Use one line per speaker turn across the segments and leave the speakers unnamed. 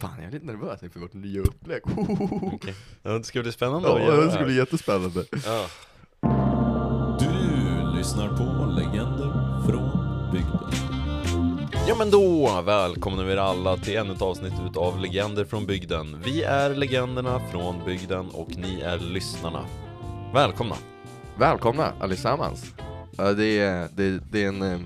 Fan, jag är lite nervös inför vårt nya upplägg. Hohoho.
Okej. Ja, Det ska bli spännande
Ja,
att göra
det ska bli jättespännande.
Ja.
Du lyssnar på Legender från bygden.
ja men då, välkomnar vi er alla till ännu ett avsnitt utav Legender från bygden. Vi är legenderna från bygden och ni är lyssnarna. Välkomna!
Välkomna allesammans. Ja, det, är, det, det är en, eh,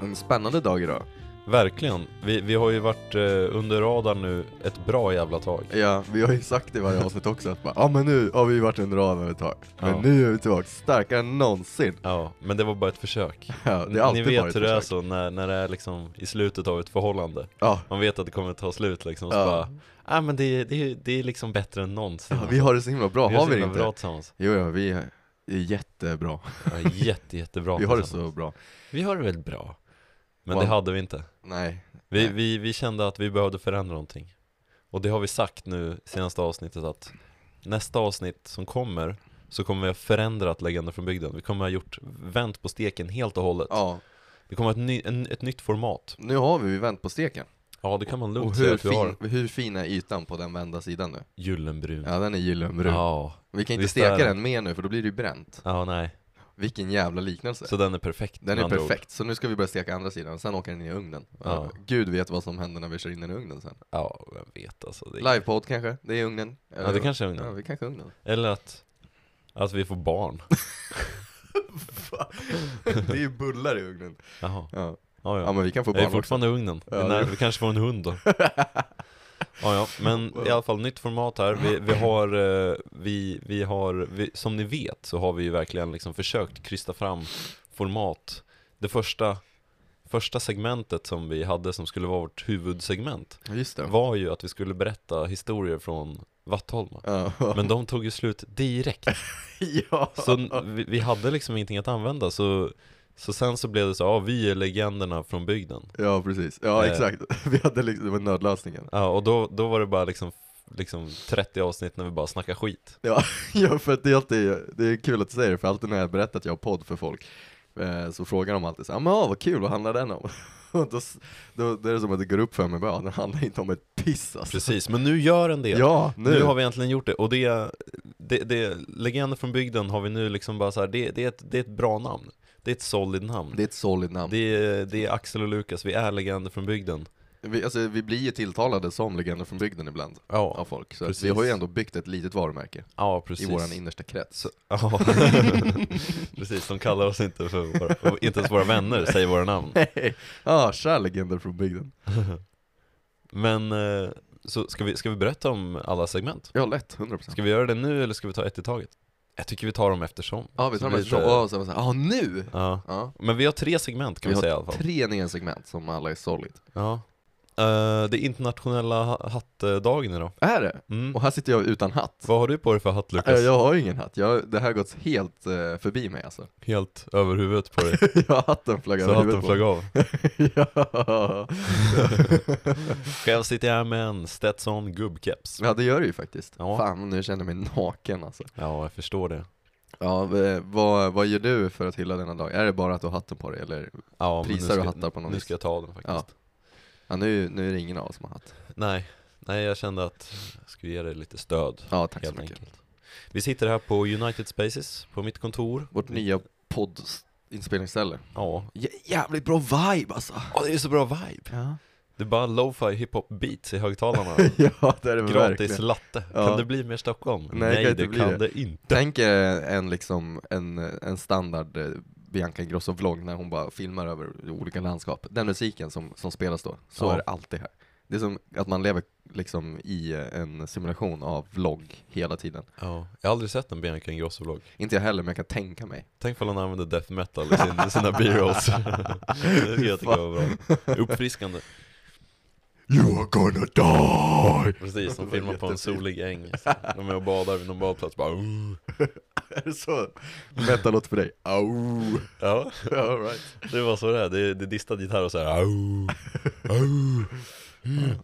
en spännande dag idag.
Verkligen. Vi, vi har ju varit eh, under radarn nu ett bra jävla tag.
Ja, vi har ju sagt i varje avsnitt också att bara, ja men nu har vi varit under radarn ett tag. Men
Ja.
nu är vi tillbaka starkare än någonsin.
Ja, men det var bara ett försök.
Ja, det har
Ni
alltid
vet
varit
hur det är
försök.
så när, när det är liksom i slutet av ett förhållande.
Ja.
Man vet att det kommer ta slut liksom, så
Ja.
bara, ah, men det, det, det är liksom bättre än någonsin.
ja, vi har det så himla bra,
Vi
har
så
vi det
himla
inte?
bra tillsammans.
Jo, ja, vi är jättebra.
Ja, jätte, jättebra
Vi har det
tillsammans.
så bra.
Vi har det väl bra. Men
Wow.
det hade vi inte.
Nej,
Vi,
Nej.
vi, vi kände att vi behövde förändra någonting. Och det har vi sagt nu senaste avsnittet att nästa avsnitt som kommer så kommer vi ha förändrat Legender från bygden. Vi kommer ha gjort, vänt på steken helt och hållet.
ja,
Det kommer ha ett, ny, en, ett nytt format.
nu har vi, vi vänt på steken.
Ja, det kan man
Och
lugnt säga
hur
att vi har.
fin, hur fin är ytan på den vända sidan nu?
Gyllenbrun.
Ja, den är gyllenbrun.
Ja,
Vi kan inte
Visst är
steka
den.
den mer nu för då blir det ju bränt.
ja, nej.
Vilken jävla liknelse.
Så den är perfekt
den
med
är
andra ord.
perfekt, så nu ska vi börja steka andra sidan, sen åker den in i ugnen.
Ja.
Gud vet vad som händer när vi kör in den i ugnen sen.
Ja, jag vet alltså. Det...
Livepodd kanske, det är ugnen.
Ja, det kanske är ugnen.
Ja, vi kanske är ugnen.
Eller att, att vi får barn.
det är ju bullar i ugnen.
Jaha,
Ja,
ja,
ja
ja.
men vi kan få
Jag är
barn också.
fortfarande i ugnen.
Ja,
Nej,
det-
vi kanske får en hund då. Ja, ja, men i alla fall nytt format här. Vi, vi har, eh, vi, vi har vi, som ni vet så har vi ju verkligen liksom försökt krysta fram format. Det första, första segmentet som vi hade som skulle vara vårt huvudsegment
Ja, Just det.
var ju att vi skulle berätta historier från Vattholma.
Ja.
Men de tog ju slut direkt.
ja.
Så n- vi, vi hade liksom ingenting att använda. Så, så sen så blev det så, ja vi är legenderna från bygden.
ja, precis. Ja,
Eh.
exakt. Vi hade liksom, det var nödlösningen.
Ja, och då, då var det bara liksom, liksom 30 avsnitt när vi bara snackade skit.
Ja, ja, för att det är alltid, det är kul att du säger det, för alltid när jag berättar att jag har podd för folk, eh, så frågar de alltid så här, men ja, vad kul, vad handlar den om? Och då, s- då, då är det som att det går upp för mig, bara, ja, den handlar inte om ett piss alltså.
Precis, men nu gör den det.
Ja,
nu.
nu.
har vi äntligen gjort det, och det, det, det Legender från bygden har vi nu liksom bara så här, det, det, är ett, det är ett bra namn. Det är ett solid namn.
Det är ett solid namn.
Det är, det är Axel och Lukas, vi är Legender från bygden.
Vi, alltså, vi blir ju tilltalade som legender från bygden ibland, av
Ja,
folk. Så att
precis.
vi har ju ändå byggt ett litet varumärke
ja precis.
i våran innersta krets.
ja. precis, de kallar oss inte för våra, och inte ens våra vänner säger våra namn.
Ja, ah, tja legender från bygden.
Men, eh, så ska vi, ska vi berätta om alla segment?
Ja, lätt, 100%.
Ska vi göra det nu eller ska vi ta ett i taget? Jag tycker vi tar dem eftersom.
Ja, vi
Så
tar
blir
med show,
det-
och sen så här, ah, nu!
Ja.
Ja.
Men vi har tre segment kan
vi
vi,
har
säga i alla fall.
tre nya segment som alla är solid.
Ja. Eh, det är internationella ha- hattdagen idag.
Är det?
Mm.
Och här sitter jag utan hatt.
Vad har du på dig för hatt
Äh,
Lukas?
Jag har ingen hatt, jag, det här har gått helt eh, förbi mig alltså.
Helt över huvudet på dig.
jag har hatten flög
Så
över
hatten
huvudet på
flög
mig.
av.
ja.
Själv sitter jag här med en Stetson gubbkeps.
ja, det gör det ju faktiskt.
Ja.
Fan, nu känner jag mig naken alltså.
Ja, jag förstår det.
Ja, v- vad, vad gör du för att hylla denna dag? Är det bara att du har hatten på dig eller?
Ja, men nu
Prisar du
ska-
hattar på något
Nu
vis?
ska jag ta den faktiskt.
Ja, nu, nu är det ingen av oss som har hatt.
Nej. Nej, jag kände att jag skulle ge dig lite stöd.
Ja, tack så
Helt
mycket.
enkelt. Vi sitter här på United Spaces, på mitt kontor.
Vårt nya poddinspelningsställe.
Ja.
Jä- jävligt bra vibe alltså.
Åh, det är så bra vibe.
Ja,
Det är bara lo-fi hiphop beats i högtalarna
ja det är det
Gratis latte,
Ja.
kan det bli mer Stockholm?
Nej, det kan inte
det
bli
kan
det.
det inte
Tänk eh, en, liksom, en, en standard eh, Bianca Ingrosso-vlogg när hon bara filmar över olika landskap. Den musiken som, som spelas då, så
Ja.
är det alltid här. Det är som att man lever liksom i eh, en simulation av vlogg hela tiden.
ja, Jag har aldrig sett en Bianca Ingrosso-vlogg
Inte jag heller, men jag kan tänka mig.
Tänk om hon använder death metal i sin, sina b-rolls Det skulle jag tycka var bra Uppfriskande
You are gonna die! Det
Precis, de
var
filmar på en
jättefint.
solig äng Så De är och badar vid någon badplats bara "Ooh."
är det så? Metalåt för dig? Au!
Ja,
All right.
det var så det är, det är, det är distad gitarr och så här "Ooh, ooh."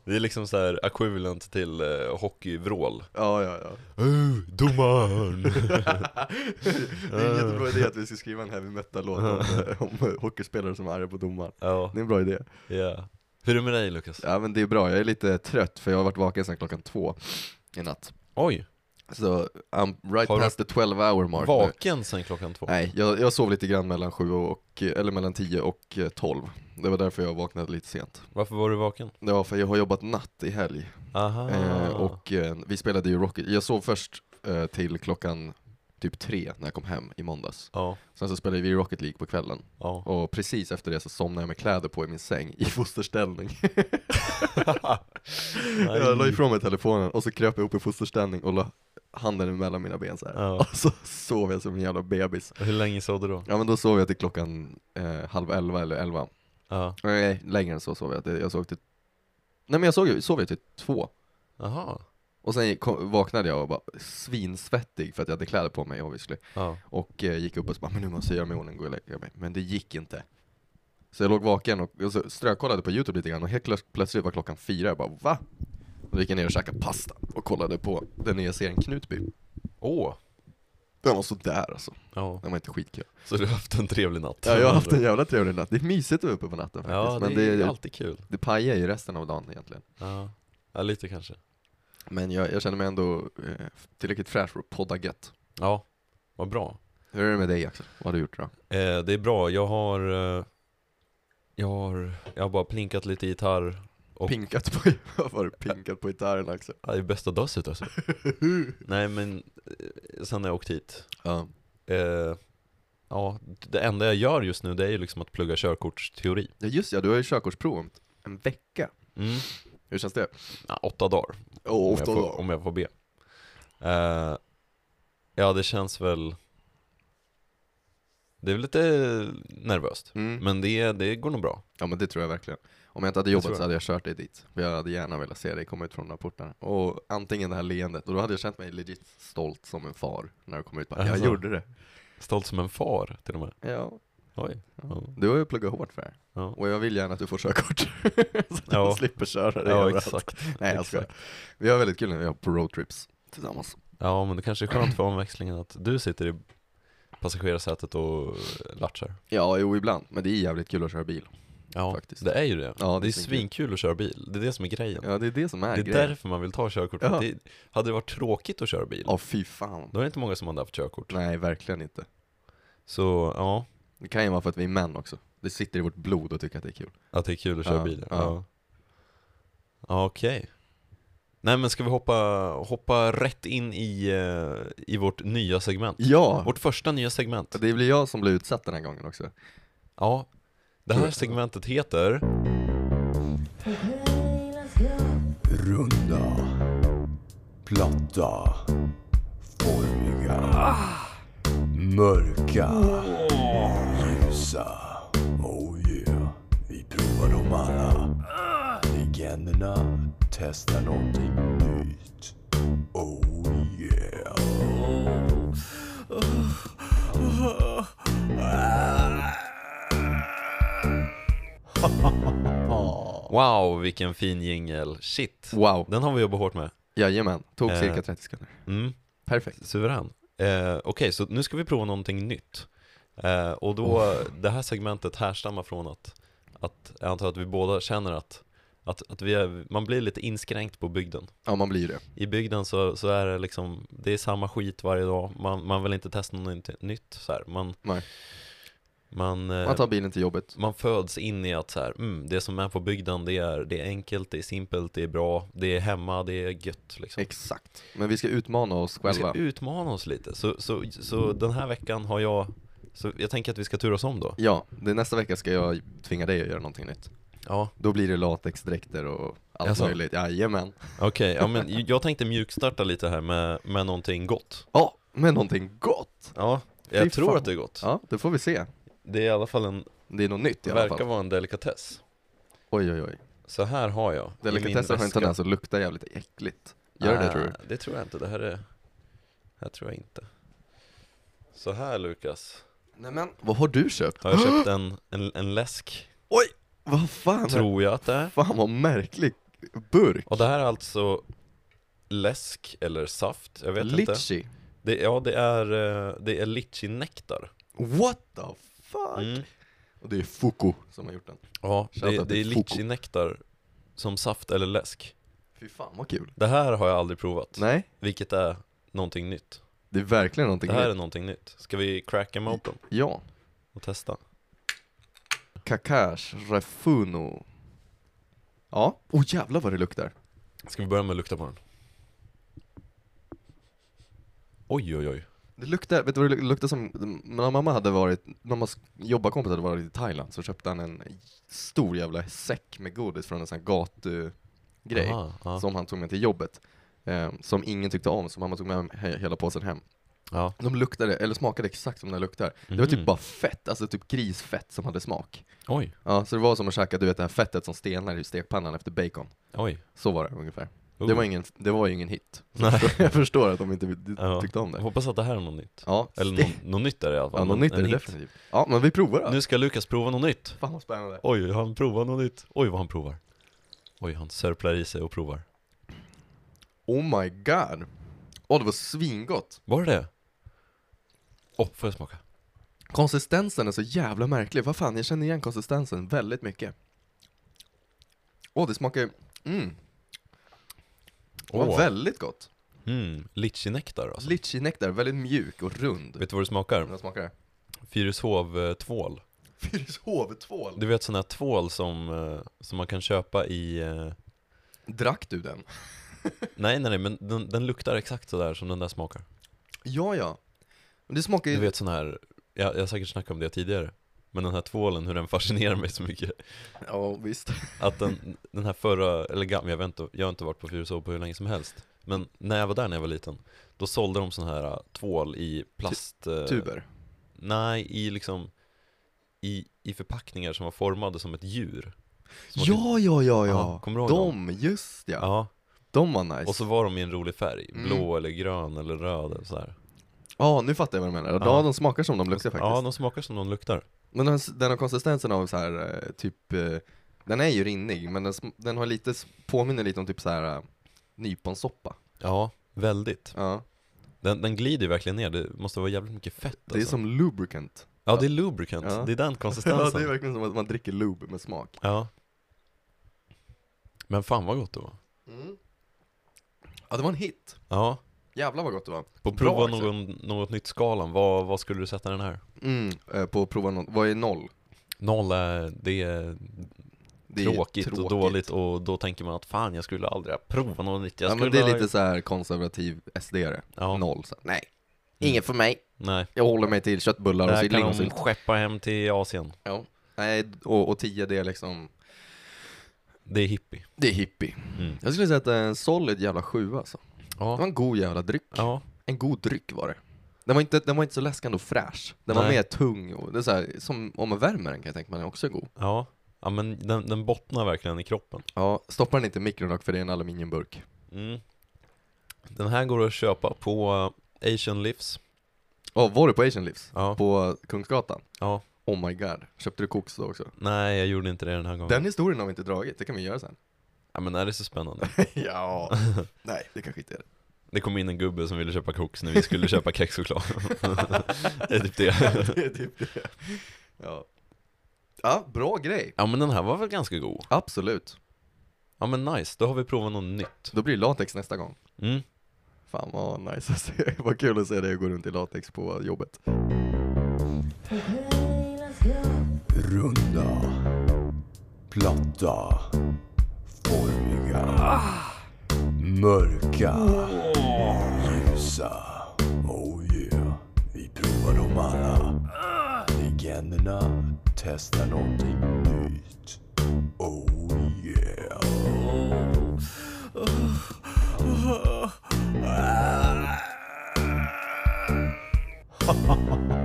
Det är liksom så här equivalent till eh, hockeyvrål
Ja, ja, ja.
"Ooh, Domaren
Det är en jättebra idé att vi ska skriva en heavy metal-låt om, eh, om hockeyspelare som är arga på domaren.
Ja,
Det är en bra idé.
ja Hur är det med dig Lukas?
Ja men det är bra, jag är lite trött för jag har varit vaken sedan klockan två i natt.
Oj,
Så I'm right
Har du
past the 12 hour mark nu.
vaken sen klockan två?
Nej, jag, jag sov lite grann mellan sju och, eller mellan 10 och eh, 12. Det var därför jag vaknade lite sent.
Varför var du vaken?
Det var för jag har jobbat natt i helg.
Aha.
Eh, och eh, vi spelade ju Rocket, jag sov först eh, till klockan typ tre när jag kom hem i måndags.
Ja,
Sen så spelade vi Rocket League på kvällen.
ja.
Och precis efter det så somnade jag med kläder på i min säng i fosterställning. jag la ifrån mig telefonen och så kröp jag upp i fosterställning och la handen mellan mina ben så här.
Ja.
Och så sov jag som en jävla bebis.
Hur länge sov du då?
Ja men då sov jag till klockan eh, halv elva eller elva.
Ja.
Nej, längre än så sov jag. Det- Jag sov till... Nej men jag sov, ju- sov jag till två.
Aha.
Och sen gick- kom, vaknade jag och bara svinsvettig för att jag hade kläder på mig obviously.
Ja.
Och eh, gick upp och så bara, men nu måste jag göra mig i ordning och gå och lägga mig. Men det gick inte. Så jag låg vaken och, och så strökollade på youtube lite grann och helt klös- plötsligt var klockan fyra, jag bara va? Och då gick jag ner och käkade pasta och kollade på den nya serien Knutby.
Åh.
Den var sådär alltså,
Ja.
den var inte skitkul.
Så du har haft en trevlig natt?
Ja, jag har haft en jävla trevlig natt, det är mysigt att vara uppe på natten faktiskt.
Ja,
men
det är
det,
alltid kul.
det pajar ju resten av dagen egentligen.
Ja. ja, lite kanske.
Men jag, jag känner mig ändå eh, tillräckligt fräsch för att podda gött.
Ja, vad bra.
Hur är det med dig Axel? Vad har du gjort då?
Eh, det är bra, jag har, eh, jag har, jag har bara plinkat lite gitarr. Och-
Pinkat på, vad var det? Pinkat på gitarren Axel?
Ja, Det är bästa dasset alltså. Nej men, eh, sen när jag åkt hit.
Ja.
Eh, ja, det enda jag gör just nu det är ju liksom att plugga körkortsteori.
ja just ja, du har ju körkortsprov om en vecka.
Mm.
Hur känns det?
Ja, åtta dagar.
Oh,
om, jag får, om jag får be. Eh, ja, det känns väl... Det är väl lite nervöst.
Mm.
Men det, det går nog bra.
Ja men det tror jag verkligen. Om jag inte hade
tror
jobbat
jag.
så hade jag kört dig dit. För jag hade gärna velat se dig komma ut från rapporterna. Och antingen det här leendet, och då hade jag känt mig legit stolt som en far när du kom ut. Bara, jag
Alltså.
gjorde det.
Stolt som en far till och med.
Ja.
Oj. Ja.
Du har ju pluggat hårt för det här.
Ja.
Och jag vill gärna att du får körkort. så att
Ja.
du slipper köra det
Ja,
överallt.
exakt.
Nej jag skojar. Vi har väldigt kul när vi är på roadtrips tillsammans.
Ja, men det kanske är skönt för omväxlingen att du sitter i passagerarsätet och latchar.
Ja, jo ibland. Men det är jävligt kul att köra bil.
Ja,
Faktiskt.
det är ju det.
Ja, det
det,
är
är
svinkul.
svinkul att köra bil. Det är det som är grejen.
Ja, det är det som är
det är
grejen.
därför man vill ta körkort.
Ah, Ja.
Det, hade det varit tråkigt att köra bil,
Ja, fy fan.
då är det inte många som hade haft körkort.
Nej, verkligen inte.
Så ja,
Det kan ju vara för att vi är män också. Det sitter i vårt blod och tycker att det är kul.
Att det är kul att köra
Ja,
bil?
ja.
Ja. Ja, Okej. Nej men ska vi hoppa, hoppa rätt in i, eh, i vårt nya segment?
Ja!
Vårt första nya segment.
Det blir jag som blir utsatt den här gången också.
Ja. Det här
Kul.
segmentet heter
Runda, platta, formiga, mörka, ljusa. Oh yeah, vi provar dem alla. Legenderna testar någonting nytt. Oh yeah.
Wow vilken fin jingel, shit.
Wow!
Den har vi jobbat hårt med.
Jajamän, tog
Eh.
cirka 30 sekunder.
Mm,
Perfekt.
suverän. Eh, Okej, så nu ska vi prova någonting nytt. Eh, och då, det här segmentet härstammar från att, att jag antar att vi båda känner att, att, att vi är, man blir lite inskränkt på bygden.
Ja, man blir det.
I bygden så, så är det liksom, det är samma skit varje dag, man, man vill inte testa något nytt- nytt så här. Man,
Nej.
man, eh,
Man tar bilen till jobbet.
man föds in i att så här, mm, det som är på bygden det är, det är enkelt, det är simpelt, det är bra, det är hemma, det är gött liksom.
Exakt. Men vi ska utmana oss
Vi ska
själva.
utmana oss lite, så, så, så den här veckan har jag, så jag tänker att vi ska turas om då.
Ja, det, nästa vecka ska jag tvinga dig att göra någonting nytt.
Ja,
Då blir det latexdräkter och allt
Jaså?
möjligt. Jajamän.
okej, ja men jag tänkte mjukstarta lite här med, med någonting gott.
Ja, men någonting gott!
Ja,
Fy
jag tror
fan.
att det är gott.
Ja, det får vi se.
Det är i alla fall en,
Det är något nytt i alla
verkar
fall.
vara en delikatess.
Oj, oj, oj.
Så här har jag i min
Delikatessen har en
väska.
tendens att lukta jävligt äckligt. Gör det
Ah,
tror du?
Det tror jag inte, det här är... Här tror jag inte Så här Lukas
Nej men, vad har du köpt?
Har jag köpt en, en, en läsk,
Oj! Vad fan?
tror jag att det är
Fan vad märklig burk.
Och det här är alltså läsk eller saft, jag vet inte
Litchi.
det, Ja det är, eh, det är litchi-nektar
What the fuck?
mm.
Och det är Fuku som har gjort den.
Ja,
Shoutout
det, det är
till Fuku.
litchi-nektar som saft eller läsk.
Fy fan vad kul.
Det här har jag aldrig provat,
Nej,
vilket är någonting nytt.
det är verkligen
Det
någonting
här är
nytt.
någonting nytt. Ska vi cracka dem open
Ja.
och testa?
Kakash Refuno. Ja, åh oh, jävlar vad det luktar.
Ska vi börja med att lukta på den? Oj oj oj.
Det luktar, vet du vad det luk- luktar som? När mamma hade varit, mammas jobbarkompis hade varit i Thailand så köpte han en stor jävla säck med godis från en sån här gatugrej.
Aha, ja.
som han tog med till jobbet. Eh, som ingen tyckte om, så mamma tog med he- hela påsen hem.
Ja.
De luktade, eller smakade exakt som den luktar. Det var typ
Mhm.
bara fett, alltså typ grisfett som hade smak.
Oj,
Ja, så det var som att käka, du vet det här fettet som stelnar i stekpannan efter bacon.
oj.
Så var det ungefär.
Oh.
Det, var ingen, det var ju ingen hit.
Nej.
Jag förstår att de inte vill-
Ja.
tyckte om
Jag
det.
hoppas att det här är något nytt.
Ja,
Eller
ste-
något, något nytt är det i alla fall.
ja, något
men
nytt är
en
det
hit.
definitivt. Ja, men vi provar då.
Nu ska Lukas prova något nytt.
Fan vad spännande.
Oj, han provar något nytt. Oj, vad han provar. Oj, han sörplar i sig och provar.
Oh my god. Åh, det var svingott.
Var det det? Åh, får jag smaka?
Konsistensen är så jävla märklig, vad fan jag känner igen konsistensen väldigt mycket Åh det smakar, mm, det var
Åh.
väldigt gott
Mm, litchi-nektar alltså.
Litchi-nektar, väldigt mjuk och rund
Vet du vad det smakar?
Vad smakar det?
Fyrishov-tvål.
Fyrishovtvål!
Du vet sån här tvål som, eh, som man kan köpa i... eh,
Drack du den?
Nej, nej, nej, men den, den luktar exakt sådär som den där smakar.
Ja ja Men Det smakar
Du
ju,
vet sån här, jag, jag har säkert snackat om det tidigare. Men den här tvålen, hur den fascinerar mig så mycket.
ja visst
Att den, den här förra, eller gamla, jag vet inte, jag har inte varit på Fyrishov på hur länge som helst. Men när jag var där när jag var liten, då sålde de sån här eh, tvål i plast... eh,
Tuber
Nej, i liksom i, i förpackningar som var formade som ett djur Som var typ-
Ja ja ja
Ja,
ja,
kommer du ihåg
de, just ja,
ja.
de var nice
Och så var de i en rolig färg,
Mm.
blå eller grön eller röd eller sådär
Ja nu fattar jag vad du menar, ja
Ja.
de smakar som de luktar faktiskt
Ja, de smakar som de luktar
Men den, den har konsistensen av så här eh, typ, eh, den är ju rinnig men den, sm- den har lite, s- påminner lite om typ så här eh, nyponsoppa.
Ja, väldigt
Ja,
Den, den glider ju verkligen ner, det måste vara jävligt mycket fett
det är
alltså.
som lubricant.
Ja, det är lubricant,
Ja.
det är den
Ja,
konsistensen
det är verkligen som att man dricker lube med smak.
Ja. Men fan vad gott det var
Ja, det var en hit.
Ja,
Jävlar vad gott det var.
på
Bra
prova
också.
någon, något nytt skalan, vad, vad skulle du sätta den här?
Mm, eh, på att prova något, vad är noll?
Noll är, det är
Det är
tråkigt, och dåligt och då tänker man att fan jag skulle aldrig ha provat något nytt, jag
Ja
skulle
men det är
ha-
lite så här konservativ SD-are.
ja,
Noll. Så. här, Nej, inget för mig.
Nej,
Jag håller mig till köttbullar och
där
silling
kan
och
de
sylt.
skeppa hem till Asien
Ja. Nej, och, och tio det är liksom,
Det är hippie
det är hippie.
mm.
Jag skulle säga att det är en solid jävla sjua alltså. Det var
Ja,
en god jävla dryck.
ja,
En god dryck var det. Den var inte, den var inte så läskande och fräsch. Den var
Nej.
mer tung och det är så här, som om man värmer den kan jag tänka mig den är också god.
ja Ja men den, den bottnar verkligen i kroppen
Ja, stoppa den inte i mikron dock för det är en aluminiumburk.
mm. Den här går att köpa på eh, Asian Lives
Ja, var du på Asian Lives?
Ja,
På Kungsgatan?
ja
Oh my god, köpte du koks då också?
Nej jag gjorde inte det den här gången
Den historien har vi inte dragit, det kan vi göra sen.
Ja men är det så spännande?
ja, nej det kanske inte är det.
Det kom in en gubbe som ville köpa koks när vi skulle köpa kexchoklad Det är typ det
det är typ det. Ja. ja, bra grej.
Ja men den här var väl ganska god?
Absolut.
Ja men nice, då har vi provat något nytt
Då blir det latex nästa gång.
Mm.
Fan vad nice att se, vad kul att se dig gå runt i latex på jobbet.
Runda. Platta. Formiga. Mörka. Ljusa. Oh yeah. Vi provar dem alla. Legenderna testar någonting nytt. Oh yeah.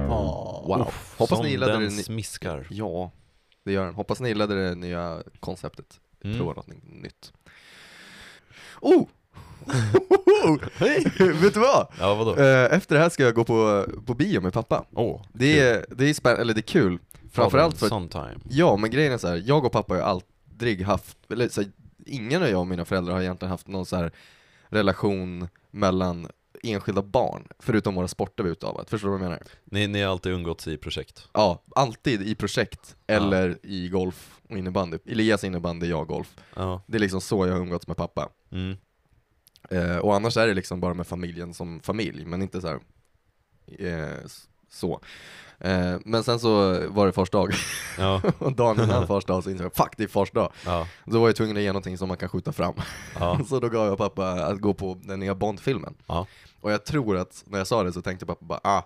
Wow. Hoppas
Som
ni gillade
den
det ni-
smiskar.
Ja, det gör den. Hoppas ni gillade det nya konceptet.
Mm.
Prova något nytt. Oh! Vet du vad?
Ja, vadå?
Eh, Efter det här ska jag gå på, på bio med pappa.
Åh,
Det är, det är spännande, eller det är kul. Framförallt för att,
Sometime.
ja men grejen är så här, jag och pappa har ju aldrig haft, eller så här, ingen av jag och mina föräldrar har egentligen haft någon så här relation mellan enskilda barn, förutom våra sporter vi utövat. Förstår du vad jag menar?
Ni, ni har alltid umgåtts i projekt.
Ja, alltid i projekt eller i golf och innebandy. Elias innebandy, jag golf.
Ja.
Det är liksom så jag har umgåtts med pappa.
Mm.
Eh, och annars är det liksom bara med familjen som familj, men inte så här, eh, s- så. Eh, men sen så var det fars dag,
Ja.
och dagen innan fars dag så insåg jag fuck det är fars dag.
Ja.
Då var jag tvungen att ge någonting som man kan skjuta fram.
Ja.
Så då gav jag pappa att gå på den nya Bond-filmen.
Ja.
Och jag tror att när jag sa det så tänkte pappa bara ah,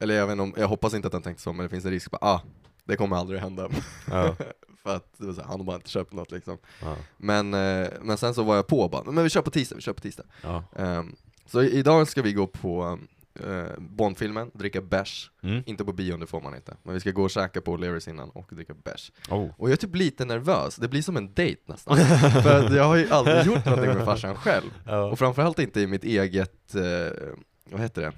eller jag vet inte om, jag hoppas inte att han tänkte så, men det finns en risk, bara ah, det kommer aldrig hända.
Ja.
För att det var så här, han har bara inte köpt något liksom.
Ja.
Men, eh, men sen så var jag på bara, men vi kör på tisdag, vi kör på tisdag.
Ja.
Ehm, så i- idag ska vi gå på eh, Bondfilmen, dricka bärs.
Mm.
Inte på bion, det får man inte. Men vi ska gå och käka på O'Learys innan och dricka bärs.
Oh.
Och jag är typ lite nervös, det blir som en dejt nästan. För att jag har ju aldrig gjort någonting med farsan själv.
Ja.
Och framförallt inte i mitt eget, eh, vad heter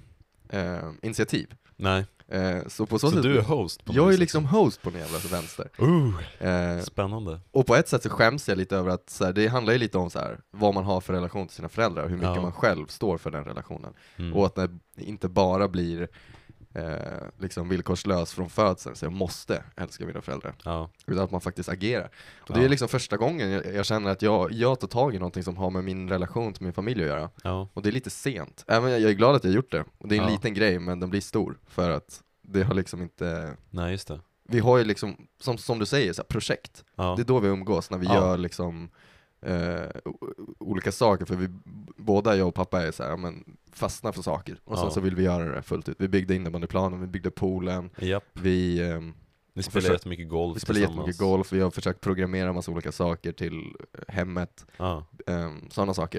det, eh, initiativ.
Nej,
Eh, så på så,
så,
sätt,
du är host på något
jag är
sätt.
liksom host på den jävla vänster.
Ooh,
Eh,
Spännande.
och på ett sätt så skäms jag lite över att så här, det handlar ju lite om så här, vad man har för relation till sina föräldrar och hur mycket
Ja.
man själv står för den relationen.
Mm.
Och att det inte bara blir eh, liksom villkorslös från födseln, så jag måste älska mina föräldrar.
Ja.
Utan att man faktiskt agerar. Och det
Ja.
är liksom första gången jag, jag känner att jag, jag tar tag i någonting som har med min relation till min familj att göra.
Ja.
Och det är lite sent. Även jag jag är glad att jag gjort det. Och det är en
Ja.
liten grej, men den blir stor. För att det har liksom inte,
Nej, just det.
vi har ju liksom, som, som du säger, så här, projekt.
Ja.
Det är då vi umgås, när vi
Ja.
gör liksom eh, o- olika saker, för vi båda, jag och pappa är så här, ja, men fastnar för saker. Och sen
Ja.
så vill vi göra det fullt ut. Vi byggde innebandyplanen, vi byggde poolen,
Japp.
vi, ehm,
Ni spelar
försök-
jättemycket golf
vi spelar
tillsammans.
jättemycket golf, vi har försökt programmera massa olika saker till hemmet,
Ja.
um, sådana saker.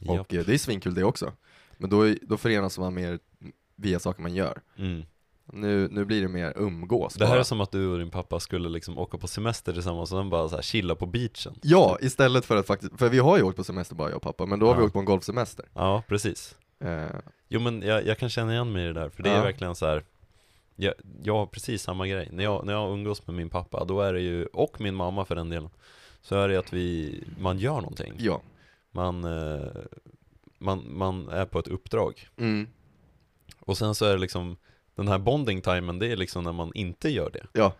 Japp.
Och eh, det är svinkul det också. Men då, är- då förenas man mer via saker man gör.
Mm.
Nu, nu blir det mer umgås
Det här
bara.
är som att du och din pappa skulle liksom åka på semester tillsammans och sen bara så här chilla på beachen.
Ja, istället för att faktiskt, för vi har ju åkt på semester bara jag och pappa, men då har vi
Ja.
åkt på en golfsemester.
Ja, precis.
Eh,
Jo men jag, jag kan känna igen mig i det där, för det
Ja.
är verkligen så här. Jag, jag har precis samma grej, när jag, när jag umgås med min pappa, då är det ju, och min mamma för den delen Så är det att vi, man gör någonting
ja.
Man, eh, man, man är på ett uppdrag
Mm.
Och sen så är det liksom Den här bonding timen, det är liksom när man inte gör det
Ja,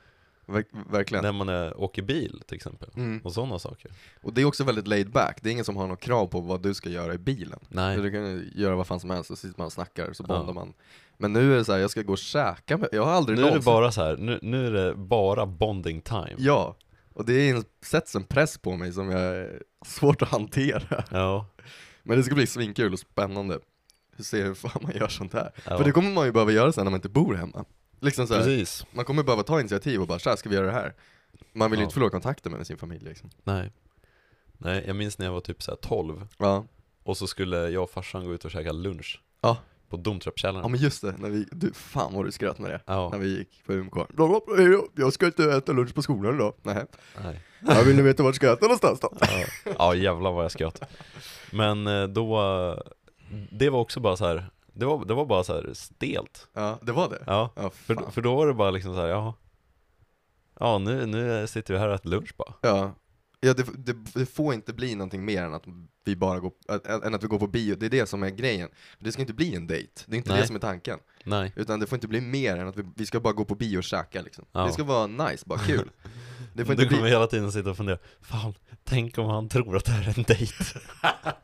verk- verkligen.
När man är, åker bil till exempel,
Mm.
och sådana saker
Och det är också väldigt laid back, det är ingen som har något krav på vad du ska göra i bilen. Så
Nej,
Du kan ju göra vad fan som helst, så sitter man och snackar, så bondar
Ja.
man. Men nu är det så här, jag ska gå och käka med, jag har aldrig
nu är det
någonsin-
bara så här. Nu, nu är det bara bonding time
Ja, och det är en, sätts en press på mig som jag är svårt att hantera.
Ja,
Men det ska bli svinkul och spännande. Se hur fan man gör sånt här.
Ja.
För det kommer man ju behöva göra sen när man inte bor hemma. Liksom så här,
precis
man kommer behöva ta initiativ och bara så här ska vi göra det här. Man vill ju
Ja.
inte förlora kontakten med sin familj liksom.
Nej Nej, jag minns när jag var typ så här 12
Ja,
Och så skulle jag och farsan gå ut och käka lunch
Ja.
På
ja
Domtrappkällaren
men just det, när vi, du, fan vad du skröt med det.
Ja,
när vi gick på UMK. Bla, bla, bla, hej då. Jag ska inte äta lunch på skolan idag. Nej.
nej.
Jag vill ni veta vart jag ska äta någonstans då?
ja. ja jävlar vad jag skratt Men eh, då, eh, det var också bara så här. Det var, det var bara så här stelt
Ja, det var det.
Ja,
Ja,
för,
fan.
för då var det bara liksom så här, jaha Ja nu, nu sitter vi här och äter lunch bara
Ja. Ja, det, det, det får inte bli någonting mer än att vi bara går, ä- ä- än att vi går på bio, det är det som är grejen. Det ska inte bli en dejt, det är inte det
Nej.
som är tanken.
Nej
Utan det får inte bli mer än att vi, vi ska bara gå på bio och käka liksom.
Ja.
Det ska vara nice, bara kul. Det får inte
Du kommer
bli,
hela tiden sitta och fundera, fan, tänk om han tror att det här är en dejt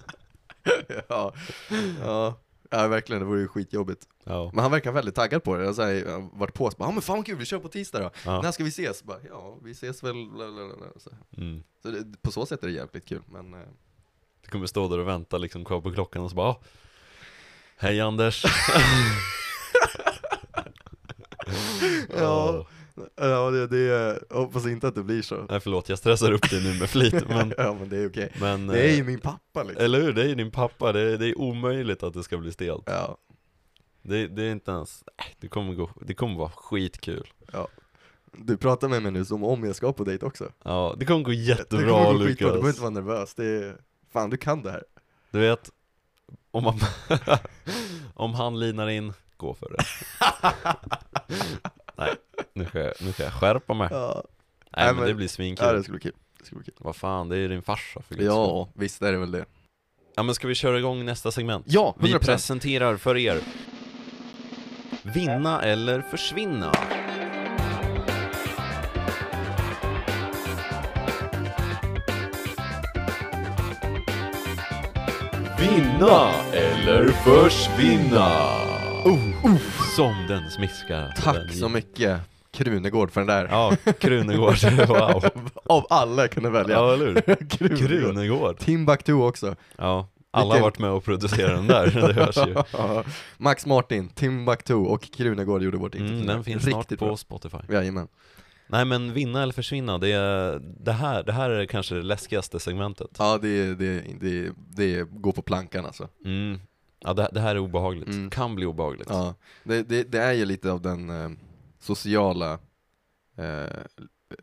ja. ja. Ja verkligen, det vore ju skitjobbigt.
Ja,
Men han verkar väldigt taggad på det, alltså, jag har varit på oss, bara, ah, men fan vad kul, vi kör på tisdag då. När
ja.
ska vi ses? Bara, ja, vi ses väl, bla, bla, bla, bla. Så,
Mm.
så det, på så sätt är det jävligt kul, men eh,
Du kommer stå där och vänta liksom kvar på klockan och så bara "Ah, Hej Anders!
Ja.
Åh.
ja, det, det, jag hoppas inte att det blir så.
Nej förlåt, jag stressar upp dig nu med flit men,
ja, men det är okej.
men
Det är
eh,
ju min pappa liksom.
Eller hur? Det är ju din pappa, det är, det är omöjligt att det ska bli stelt
Ja,
Det, det är inte ens, nej, det kommer gå, det kommer vara skitkul
du pratar med mig nu som om jag ska på dejt också.
Ja, det kommer gå
det kommer
jättebra
gå skitbra, du behöver
Lukas
inte vara nervös. Det är... Fan, du kan det här.
Du vet, om, man, om han linar in, gå för det Nej, nu ska, jag, nu ska jag skärpa mig
Ja,
Nej
Nej,
men
men-
det blir svinkul
ja det skulle bli kul. Det skulle bli kul.
Vad fan, det är ju din farsa för guds skull.
Ja, visst är det väl det.
Ja men ska vi köra igång nästa segment?
Ja,
Vi
100%.
presenterar för er Vinna eller försvinna
Vinna eller försvinna?
Som den smiskar den.
Tack så mycket Krunegård för den där.
Ja, Krunegård, wow
Av alla jag kunde välja.
Ja, eller hur?
Krunegård.
Krunegård
Timbuktu också.
Ja, alla har
Vilken-
varit med och producerat den där, det hörs ju
Max Martin, Timbuktu och Krunegård gjorde vårt intro.
mm, Den finns snart på Spotify
Bra. Jajamän.
Nej men vinna eller försvinna, det, är, det, här, det här är kanske det läskigaste segmentet
Ja, det, är- det, är- det, är- det är- går på plankan alltså.
mm. Ja det, det här är obehagligt,
Mm.
kan bli obehagligt
Ja, det, det, det är ju lite av den eh, sociala eh,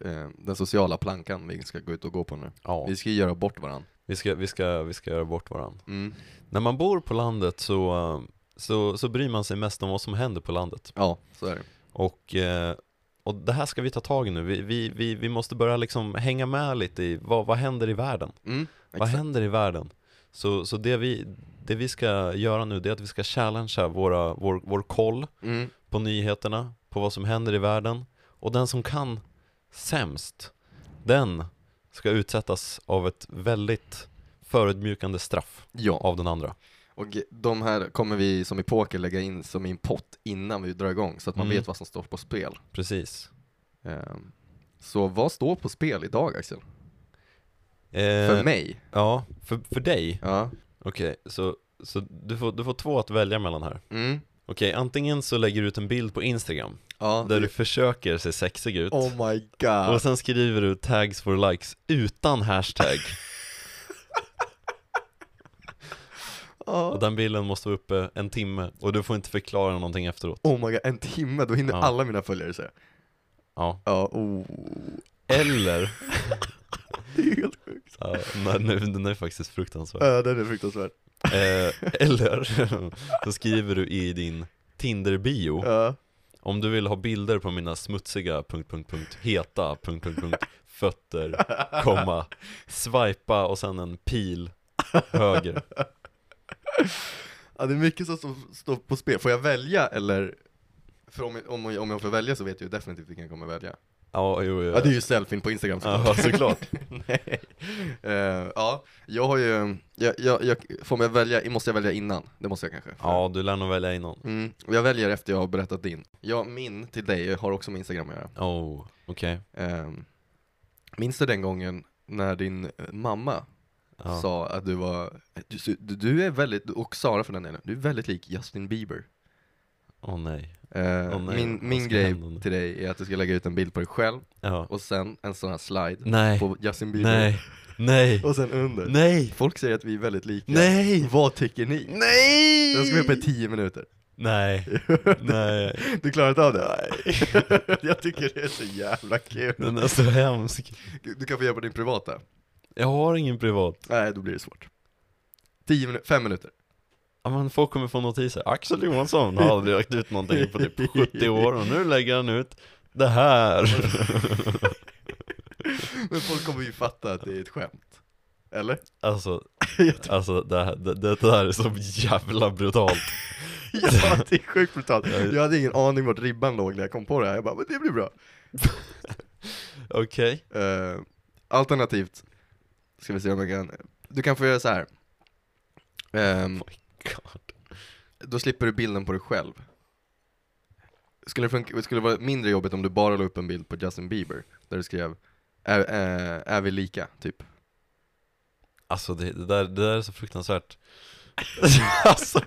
eh, den sociala plankan vi ska gå ut och gå på nu.
Ja.
Vi ska ju göra bort varandra.
Vi, ska, vi, ska, vi ska göra bort varandra
Mm.
När man bor på landet så, eh, så, så bryr man sig mest om vad som händer på landet.
Ja, så är det.
Och, eh, och det här ska vi ta tag i nu. Vi, vi, vi, vi måste börja liksom hänga med lite i vad, vad händer i världen?
Mm.
Vad
exakt.
händer i världen? Så, så det, vi, det vi ska göra nu det är att vi ska challengea våra, vår, vår koll
Mm.
på nyheterna, på vad som händer i världen. Och den som kan sämst, den ska utsättas av ett väldigt förödmjukande straff
Ja,
av den andra.
och de här kommer vi som i poker lägga in som i en pott innan vi drar igång så att man
Mm.
vet vad som står på spel.
Precis.
Ehm, Så vad står på spel idag Axel?
Eh,
För mig?
Ja, för, för dig?
Ja.
Okej, så, så du, får, du får två att välja mellan här
Mm.
Okej, antingen så lägger du ut en bild på Instagram
Ja.
där du försöker se sexig ut
Oh my god.
och sen skriver du tags for likes utan hashtag
Ja.
och den bilden måste vara uppe en timme och du får inte förklara någonting efteråt
Oh my god, en timme, då hinner
Ja.
alla mina följare se.
Ja,
Ja, oh.
eller,
Det är helt sjukt.
ja, nej, nu, den är faktiskt fruktansvärd
Ja, den är fruktansvärd.
eh, Eller så skriver du i din Tinder-bio
Ja.
Om du vill ha bilder på mina smutsiga punkt, punkt, punkt, heta punkt, punkt, punkt, fötter, komma, swipa och sen en pil höger.
ja, det är mycket som står- står på spel. Får jag välja eller? För om, om, om jag får välja så vet jag ju definitivt vilken jag kommer välja.
Ja, jo, jo.
Ja, det är ju selfien på Instagram
Ja, såklart.
Nej. Eh, ja, jag har ju, jag, jag, jag, får jag välja, måste jag välja innan? Det måste jag kanske.
Ja, du lär nog välja innan.
Mm, och jag väljer efter jag har berättat din. Ja, min till dig har också med Instagram att göra.
Oh, okej.
Ehm, minns du den gången när din eh, mamma
Ja.
sa att du var, du, ser- du- du är väldigt, och Sara för den delen, du är väldigt lik Justin Bieber.
Åh nej.
Eh,
Åh nej,
min
vad
min
ska
grej
hända nu?
till dig är att du ska lägga ut en bild på dig själv
Ja.
och sen en sån här slide
Nej.
på Justin Bieber.
Nej. Nej.
Och sen under.
Nej.
Folk säger att vi är väldigt lika.
Nej.
Vad tycker ni?
Nej.
Den ska vara uppe i 10 minuter.
Nej. Nej.
Du klarar inte av det? jag tycker det är så jävla kul.
Den är så hemsk.
Du, du kan få göra på din privata.
Jag har ingen privat.
Nej, då blir det svårt. 10 minuter, 5 minuter.
Ja, men folk kommer få notiser. Axel Johansson har aldrig lagt ut någonting på typ 70 år och nu lägger han ut det här.
Men folk kommer ju fatta att det är ett skämt. Eller?
Alltså,
Jag
alltså det, här, det, det här är så jävla brutalt
Ja, det är sjukt brutalt. Jag hade ingen aning vart ribban låg när jag kom på det här. Jag bara, men det blir bra.
Okej,
Eh, alternativt, ska vi se om jag kan. Du kan få göra så här. Ehm,
God.
då slipper du bilden på dig själv. Skulle det, funka, skulle det vara mindre jobbigt om du bara la upp en bild på Justin Bieber, där du skrev är, eh, är vi lika, typ.
Alltså det, det, där, det där är så fruktansvärt Alltså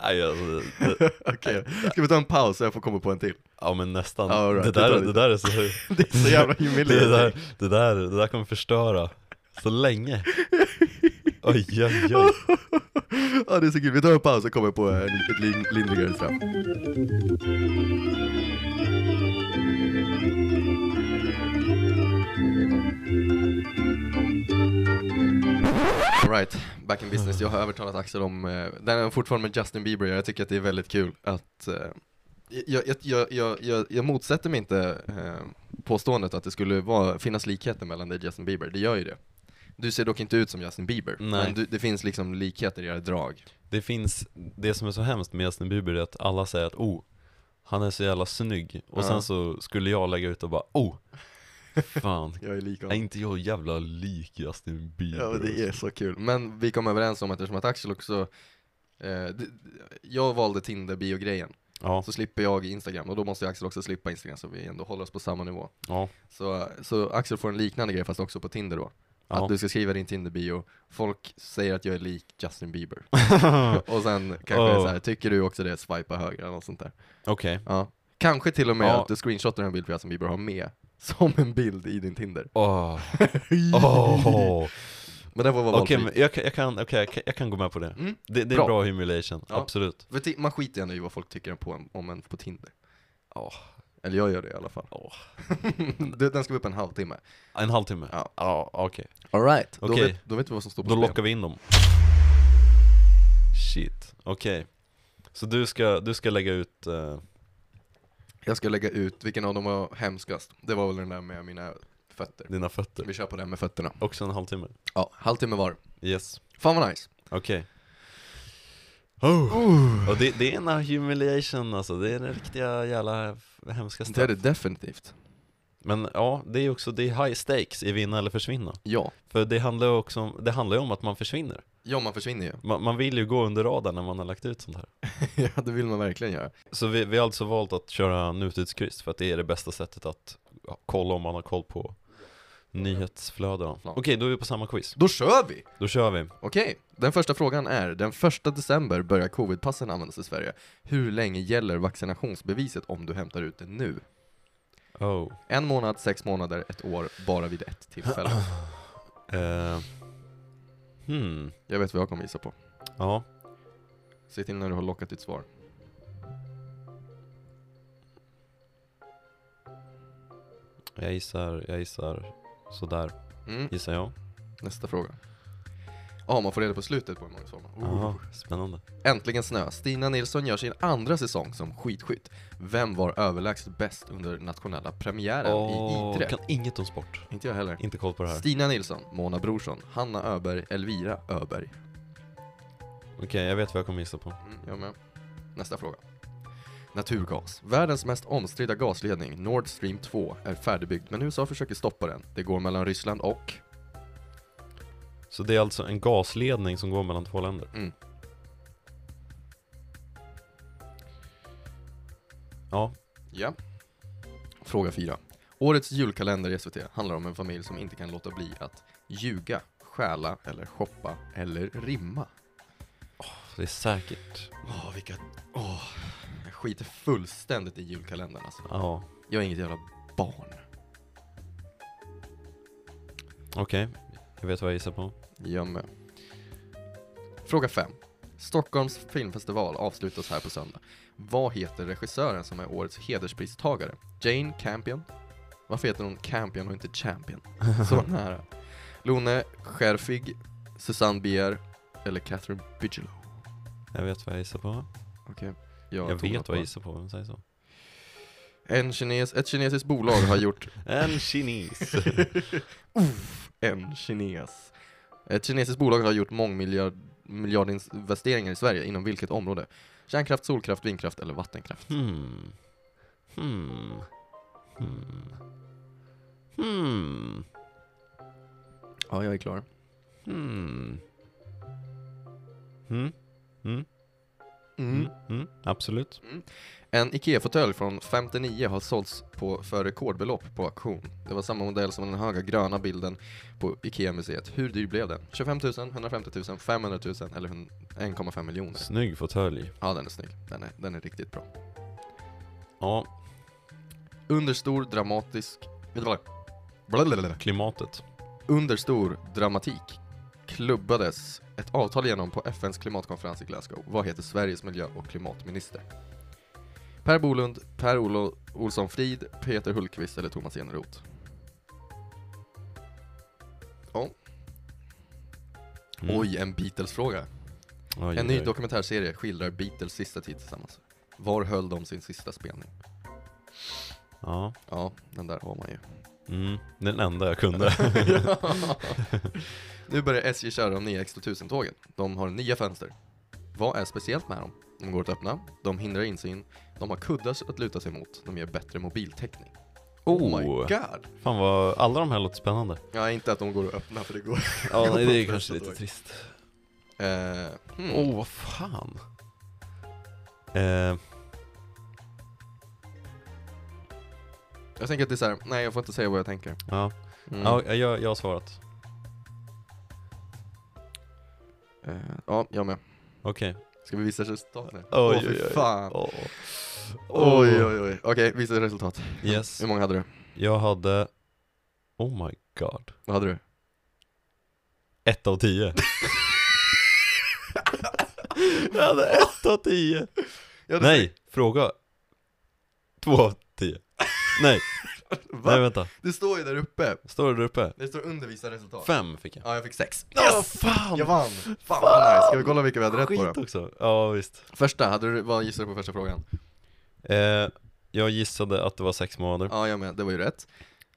Nej alltså, det,
Okej, ska vi ta en paus så jag får komma på en till?
ja men nästan
Ja, all right,
det,
det tar
där,
vi.
det där är så
Det är så jävla
det,
humiliating.
där, det, där, det där kommer förstöra så länge Oj oj oj
Ja, det är så kul. Vi tar en paus och kommer på en, ett lin- lindrigare straff. Alright, back in business. Jag har övertalat Axel om, eh, den är fortfarande med Justin Bieber, jag tycker att det är väldigt kul att eh, jag, jag, jag, jag, jag, jag motsätter mig inte eh, påståendet att det skulle vara, finnas likheter mellan dig och Justin Bieber, det gör ju det. Du ser dock inte ut som Justin Bieber,
Nej.
men du, det finns liksom likheter i era drag.
Det finns, det som är så hemskt med Justin Bieber är att alla säger att oh, han är så jävla snygg Och
Ja.
sen så skulle jag lägga ut och bara oh, fan
Jag är lik
Är inte jag jävla lik Justin Bieber?
Ja, men det är så kul. Men vi kom överens om att eftersom att Axel också, eh, d- jag valde Tinder-bio-grejen,
Ja,
så slipper jag Instagram, och då måste Axel också slippa Instagram så vi ändå håller oss på samma nivå.
ja,
Så, så Axel får en liknande grej fast också på Tinder då.
Ja.
Att du ska skriva din Tinder-bio, folk säger att jag är lik Justin Bieber. och sen kanske det är så här, tycker du också det, swipa höger eller något sånt där.
okej
Ja. Kanske till och med
Ja.
att du screenshotar en bild på Justin Bieber och har med som en bild i din Tinder.
Åh.
Mm.
Åh.
Men det får vara
Okej,
valfri.
men jag kan, jag kan, okej, jag kan, jag kan gå med på det
Mm.
Det, det är
Bra.
bra, humiliation,
Ja.
absolut
För ti- man skiter ju ändå i vad folk tycker på en, om en på Tinder.
Ja.
Eller jag gör det i alla fall.
Ja.
Du, Den ska vara upp en halvtimme.
En halvtimme?
Ja.
ja okej
Alright. Då,
Okej.
vet, då vet vi vad som står på
Då
spel.
lockar vi in dem Shit, okej Så du ska, du ska lägga ut, eh,
Jag ska lägga ut vilken av dem var hemskast. Det var väl den där med mina fötter.
dina fötter?
Vi kör på den med fötterna.
Också en halvtimme?
Ja, halvtimme var.
Yes,
Fan vad nice.
okej oh. Och det, det är en humiliation alltså, det är den riktiga jävla hemska
Det är
straff
det definitivt.
Men ja, det är också, det är high stakes i vinna eller försvinna
Ja.
För det handlar ju också om, det handlar ju om att man försvinner
Ja, man försvinner ju.
man, man vill ju gå under radarn när man har lagt ut sånt här
ja, det vill man verkligen göra.
Så vi, vi har alltså valt att köra nutidskryss för att det är det bästa sättet att ja, kolla om man har koll på nyhetsflöden. Okej, då är vi på samma quiz.
Då kör vi!
Då kör vi.
Okej, den första frågan är, den första december börjar covidpassen användas i Sverige. Hur länge gäller vaccinationsbeviset om du hämtar ut det nu?
Oh.
En månad, sex månader, ett år, bara vid ett tillfälle.
Eh. Hmm.
Jag vet vad jag kommer gissa på.
Ja.
Se till när du har lockat ditt svar.
Jag gissar, jag gissar sådär,
Mm.
gissar jag.
Nästa fråga. Ja, man får reda på slutet på hur många svar man
Aha, spännande.
Äntligen snö. Stina Nilsson gör sin andra säsong som skidskytt. Vem var överlägset bäst under nationella premiären i Idre?
kan inget om sport.
Inte jag heller.
Inte koll på det här.
Stina Nilsson, Mona Brorsson, Hanna Öberg, Elvira Öberg.
Okej, jag vet vad jag kommer gissa på.
Mm, jag med. Nästa fråga. Naturgas. Världens mest omstridda gasledning, Nord Stream 2, är färdigbyggd men USA försöker stoppa den. Det går mellan Ryssland och...
Så det är alltså en gasledning som går mellan två länder?
Mm.
Ja,
Ja. Fråga 4. Årets julkalender i SVT handlar om en familj som inte kan låta bli att ljuga, stjäla eller shoppa eller rimma.
det är säkert.
Åh, vilka... Åh. Jag skiter fullständigt i julkalendern alltså.
Ja,
Jag är inget jävla barn.
okej. Jag vet vad jag gissar på.
Jag med. Fråga 5. Stockholms filmfestival avslutas här på söndag. Vad heter regissören som är årets hederspristagare? Jane Campion? Varför heter hon Campion och inte Champion? Så nära. Lone Scherfig, Susanne Bier eller Catherine Bigelow?
Jag vet vad jag gissar på.
Okej.
Jag
tog
vet
något
vad
på-
jag gissar på, vem säger så?
en kines, Ett kinesiskt bolag har gjort
En kines!
en kines. Ett kinesiskt bolag har gjort mångmiljardinvesteringar i Sverige inom vilket område? Kärnkraft, solkraft, vindkraft eller vattenkraft?
hmm. Hmm. Hmm. Hmm.
Ja, jag är klar.
Hmm. Hmm. Hmm.
Mm.
Mm. Mm. Absolut.
En IKEA-fåtölj från 59 har sålts på, för rekordbelopp på auktion. Det var samma modell som den höga gröna bilden på IKEA-museet. Hur dyr blev den? 25 000, 150 000, 500 000 eller hun- 1,5 miljoner?
Snygg fåtölj.
Ja, den är snygg. Den är, den är riktigt bra.
Ja,
Understor dramatisk... Vet du vad? Blablabla.
klimatet.
Understor dramatik klubbades ett avtal igenom på FNs klimatkonferens i Glasgow. Vad heter Sveriges miljö och klimatminister? Per Bolund, Per Olo, Olsson Frid, Peter Hultqvist eller Thomas Eneroth? Ja.
Mm.
Oj, en Beatles-fråga.
Oj,
En ny
oj.
dokumentärserie skildrar Beatles sista tid tillsammans. Var höll de sin sista spelning?
Ja,
Ja, den där har man ju.
Mm, den enda jag kunde.
Nu börjar SJ köra de nya X2000-tågen. De har nya fönster. Vad är speciellt med dem? De går att öppna, de hindrar insyn, de har kuddar att luta sig mot, de ger bättre mobiltäckning. Oh my
Oh.
god!
Fan vad, alla de här låter spännande.
Ja, inte att de går att öppna för det går.
Ja,
nej, det är kanske lite
trist.
Eh, hmm.
Åh, oh, vad fan. Eh,
Jag tänker att det är så här, nej jag får inte säga vad jag tänker.
ja,
Mm.
ja jag, jag har svarat.
Eh, ja, jag med.
Okej.
Ska vi visa resultaten?
Oj,
Åh,
oj,
fy
oj.
fan.
Åh.
Oj, oj, oj. Okej, visa resultat.
Yes,
Hur många hade du?
jag hade... Oh my god.
Vad hade du?
Ett av tio. jag hade ett av tio.
Jag hade
Nej, fråga. Två av tio. Nej,
Va?
nej vänta.
Det står ju där uppe.
Står det där uppe?
Det står under visa resultat.
Fem fick jag.
Ja, jag fick sex.
Åh, fan!
Jag vann! Fan, vad nice. Ska vi kolla vilka vi hade rätt på
Skit
då?
också. Ja, visst.
Första, hade du, vad gissade du på första frågan?
Eh, jag gissade att det var sex månader.
Ja, jag med. Det var ju rätt.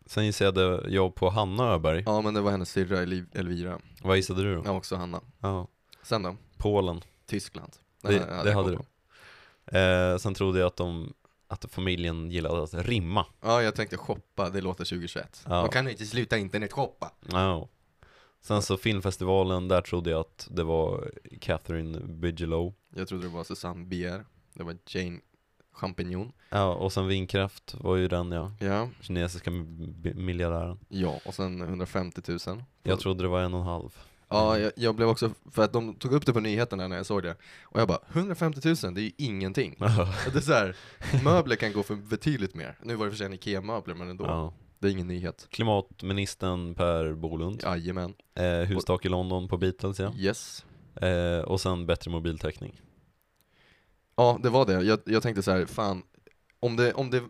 Sen gissade jag på Hanna Öberg.
Ja, men det var hennes syrra Eli- Elvira.
Vad gissade du då?
Ja, också Hanna.
Ja.
Sen då?
Kolen.
Tyskland. Den
Det,
här
det
jag
hade
koll
du. Eh, sen trodde jag att de att familjen gillade att rimma.
på. Ja, jag tänkte shoppa. Det låter 2021.
Ja.
Man kan ju inte sluta internetshoppa.
Ja. Sen så filmfestivalen, där trodde jag att det var Catherine Bigelow.
Jag trodde det var Susanne Bier. Det var Jane Champignon.
Ja, och sen vindkraft var ju den ja,
Ja.
kinesiska mi- bi- miljardären.
Ja, och sen 150 000.
Jag trodde det var en och en halv. Mm.
Ja, jag, jag blev också, för att de tog upp det på nyheterna när jag såg det. Och jag bara, 150 000, det är ju ingenting. Och det är så här, möbler kan gå för betydligt mer. Nu var det för sig en IKEA-möbler, men ändå.
Ja.
Det är ingen nyhet.
Klimatministern Per Bolund.
Jajamän.
Eh, hustak i London på Beatles ja.
Yes.
Eh, och sen bättre mobiltäckning.
Ja, det var det. Jag, jag tänkte så här, fan, om det, om det,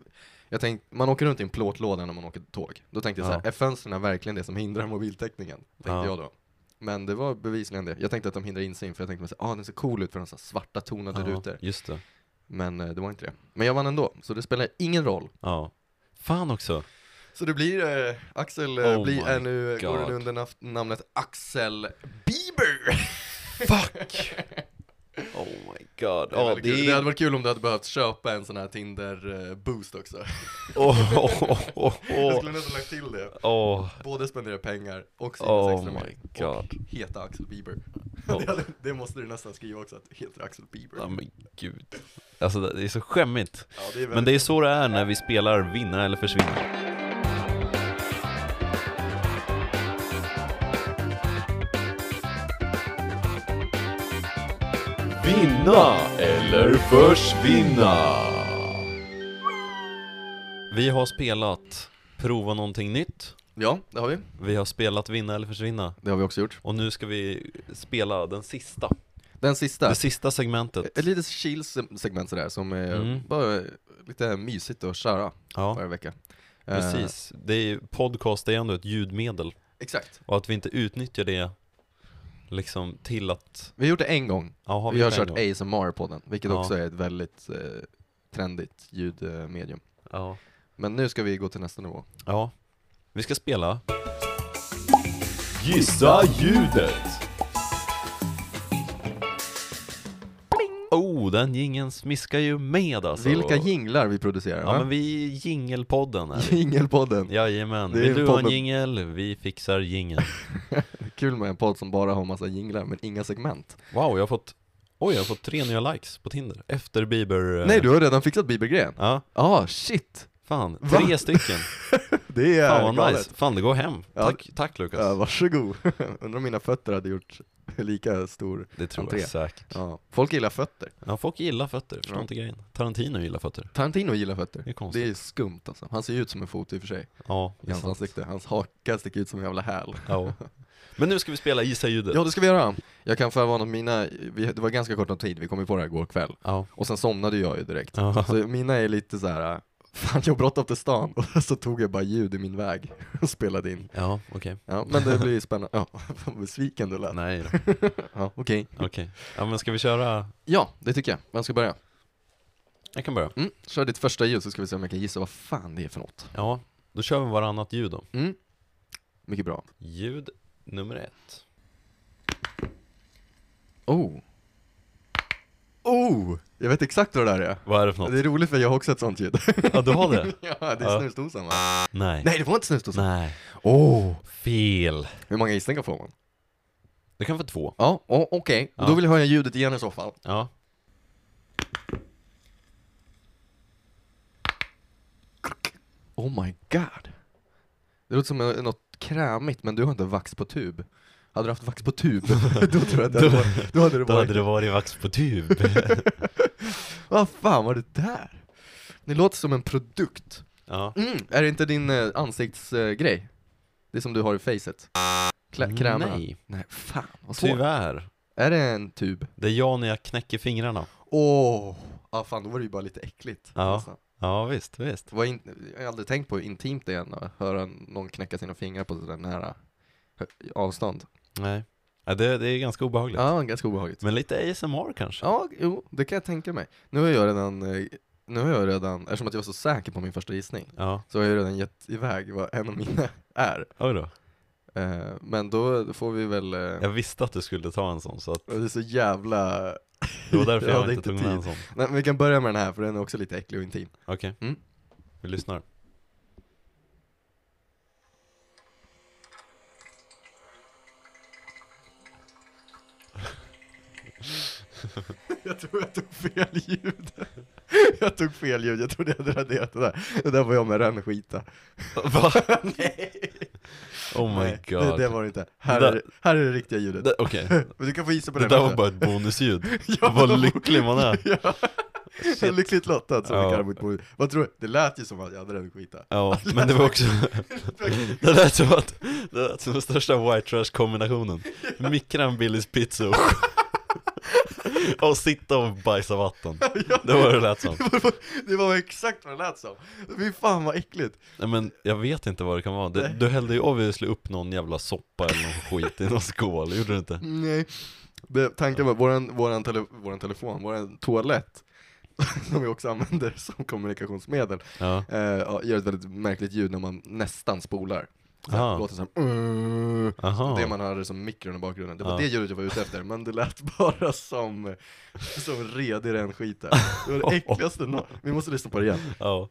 jag tänkte, man åker runt i en plåtlåda när man åker tåg. Då tänkte jag så här,
Ja.
är fönstren verkligen det som hindrar mobiltäckningen? Tänkte
Ja.
jag då. Men det var bevisligen det. Jag tänkte att de hindrar insyn, för jag tänkte mig så här, ah, den ser cool ut för de så här svarta tonade rutor.
just det.
Men eh, det var inte det. Men jag vann ändå, så det spelar ingen roll.
Ja. Fan också.
Så det blir, eh, Axel eh,
Oh
blir, är
my
nu, går
God.
nu under naf- namnet Axel Bieber!
Fuck! Oh my god.
Det, är
Ja,
väldigt
det
kul. det hade
är...
varit kul om du hade behövt köpa en sån här Tinder-boost också.
Åh, åh, åh, åh,
Jag
åh.
skulle nästan lagt till det.
Åh,
Både spendera pengar och Simon
Oh
Sexton
my
med.
god.
Och heta Axel Bieber.
Oh.
Det, hade, det måste du nästan skriva också, att heter Axel Bieber.
Ja, men gud. Alltså det är så skämmigt.
Ja, det är
Men
väldigt...
det är så det är när vi spelar Vinna eller försvinna.
Vinna eller försvinna.
Vi har spelat Prova någonting nytt.
ja, det har vi.
Vi har spelat Vinna eller försvinna.
Det har vi också gjort.
Och nu ska vi spela den sista.
Den sista.
Det sista segmentet.
Ett litet chill-segment sådär, som är
Mm.
bara lite mysigt att köra
Ja,
varje vecka. Eh,
precis. Det är, ju- podcast är ändå ett ljudmedel.
exakt.
Och att vi inte utnyttjar det liksom till att...
Vi har gjort det en gång.
Ja, har
vi har
gjort
kört
det en gång?
ASMR på den, vilket
Ja.
också är ett väldigt eh, trendigt ljudmedium.
Ja.
Men nu ska vi gå till nästa nivå.
ja. Vi ska spela.
Gissa ljudet.
Oh, den gingen smiskar ju med alltså.
Vilka jinglar vi producerar,
Ja,
va?
men vi är jingelpodden är vi.
Jingelpodden.
Jajamän.
Det är
Vill du ha en
podden.
jingel? Vi fixar jingeln.
Kul med en podd som bara har massa jinglar men inga segment.
Wow, jag har fått... Oj, jag har fått tre nya likes på Tinder. Efter Bieber... eh,
Nej, du har redan fixat Biebergren.
Ja,
Ja, shit.
fan.
Va?
Tre stycken.
Det är
Fan vad nice. Fan, det går hem.
Ja.
Tack, tack Lukas.
Ja, varsågod. Undrar om mina fötter hade gjort lika stor.
det tror
entré.
jag säkert.
Ja. Folk gillar fötter.
Ja, folk gillar fötter. Förstår
Ja.
inte grejen. Tarantino gillar fötter.
Tarantino gillar fötter.
Det är konstigt.
Det är skumt alltså. Han ser ju ut som en fot i och för sig.
Ja, det
I
är
hans
sant.
ansikte. Hans haka sticker ut som en jävla häl.
Ja. Men nu ska vi spela Gissa ljudet.
Ja, det ska vi göra. Jag kan förvarna om mina, vi, det var ganska kort om tid, vi kom ju på det här igår kväll.
Ja.
Och sen somnade jag ju direkt.
Ja.
Så mina är lite så här. fan jag har bråttom till stan. Och så tog jag bara ljud i min väg och spelade in.
Ja, okej.
Ja, men det blir ju spännande. Ja, vad besviken du lät.
Nej då.
Ja, okej.
Okej. Ja, men ska vi köra?
Ja, det tycker jag. Vem ska börja?
Jag kan börja.
Mm. Kör ditt första ljud så ska vi se om jag kan gissa vad fan det är för något.
Ja, Då kör vi varannat ljud då.
Mm. Mycket bra.
Ljud nummer ett.
Oh. Oh! Jag vet exakt vad det där är.
Vad är det för något?
Det är roligt för jag har också ett sånt ljud.
Ja, du har det?
ja, det är
Ja.
snusdosan va?
Nej.
Nej, det var inte snusdosan.
Nej.
Åh!
Fel.
Hur många gissningar får man?
Du kan få två.
Ja, oh, okej.
Ja.
Då vill jag höra ljudet igen i så fall.
Ja.
Oh my god. Det låter som eh, något krämigt, men du har inte vax på tub. Hade du haft vax på tub, då tror jag att det hade varit, då hade det
Då
varit...
hade det varit vax på tub.
Vad fan var det där? Det låter som en produkt.
Ja.
Mm, är det inte din eh, ansiktsgrej? Det som du har i facet? Klä, krämerna?
Mm, Nej.
Mm, Nej, fan vad svårt.
Tyvärr.
Är det en tub?
Det är jag när jag knäcker fingrarna.
Åh! Ja fan, då var det ju bara lite äckligt.
Ja.
nästan.
Ja, visst, visst.
Det var in, jag har aldrig tänkt på hur intimt det är att höra någon knäcka sina fingrar på sådär nära hö- avstånd.
Nej. Ja, det, det är ganska obehagligt.
Ja, ganska obehagligt.
Men lite ASMR kanske?
Ja, jo, det kan jag tänka mig. Nu har jag redan, eh, nu har jag redan, eftersom att jag var så säker på min första gissning,
Ja.
så har jag redan gett iväg vad en av mina är.
Oj då.
Eh, Men då får vi väl, eh,
Jag visste att du skulle ta en sån, så att
det är så jävla...
det var därför
Jag
jag,
hade
inte
inte
tog med en
tid.
sån.
Nej, men vi kan börja med den här för den är också lite äcklig och intim.
Okej.
Mm.
Vi lyssnar.
Jag tror jag tog fel ljud. Jag tog fel ljud, jag trodde jag hade raderat det där. Det där var jag med rännskita.
Va? Oh my
Nej,
god.
Det, det var det inte. Här,
Det
är,
där-
det, här är det riktiga ljudet.
Det- Okej,
Men du kan få gissa på
det
den
där
också.
var bara ett bonusljud.
Ja, det var-
Vad lycklig man är.
Ja.
Shit.
Lyckligt lottad som
Ja.
vi kallar mitt bord. Vad tror du? Det lät ju som att jag hade den skita.
Ja, men det var också, det lät som att, det lät som den största white trash kombinationen. Mikran Billys pizza och, och sitta och bajsa vatten. Det var det lät som.
Det var, det var exakt vad det lät som. Fy fan vad äckligt.
Nej men jag vet inte vad det kan vara. Det,
Nej.
du hällde ju obviously upp någon jävla soppa eller någon skit i någon skål, gjorde du inte?
Nej. Det, tanken var, våran, våran, tele, våran telefon, våran toalett, som vi också använder som kommunikationsmedel,
Ja,
eh, ja, gör ett väldigt märkligt ljud när man nästan spolar. Så här,
Aha.
Det låter som "Mm",
aha.
Det man hörde som mikron i bakgrunden, det var
Ja.
det ljudet jag var ute efter, men det lät bara som, som redig renskita. Det var det äckligaste nå- Vi måste lyssna på det igen.
Ja.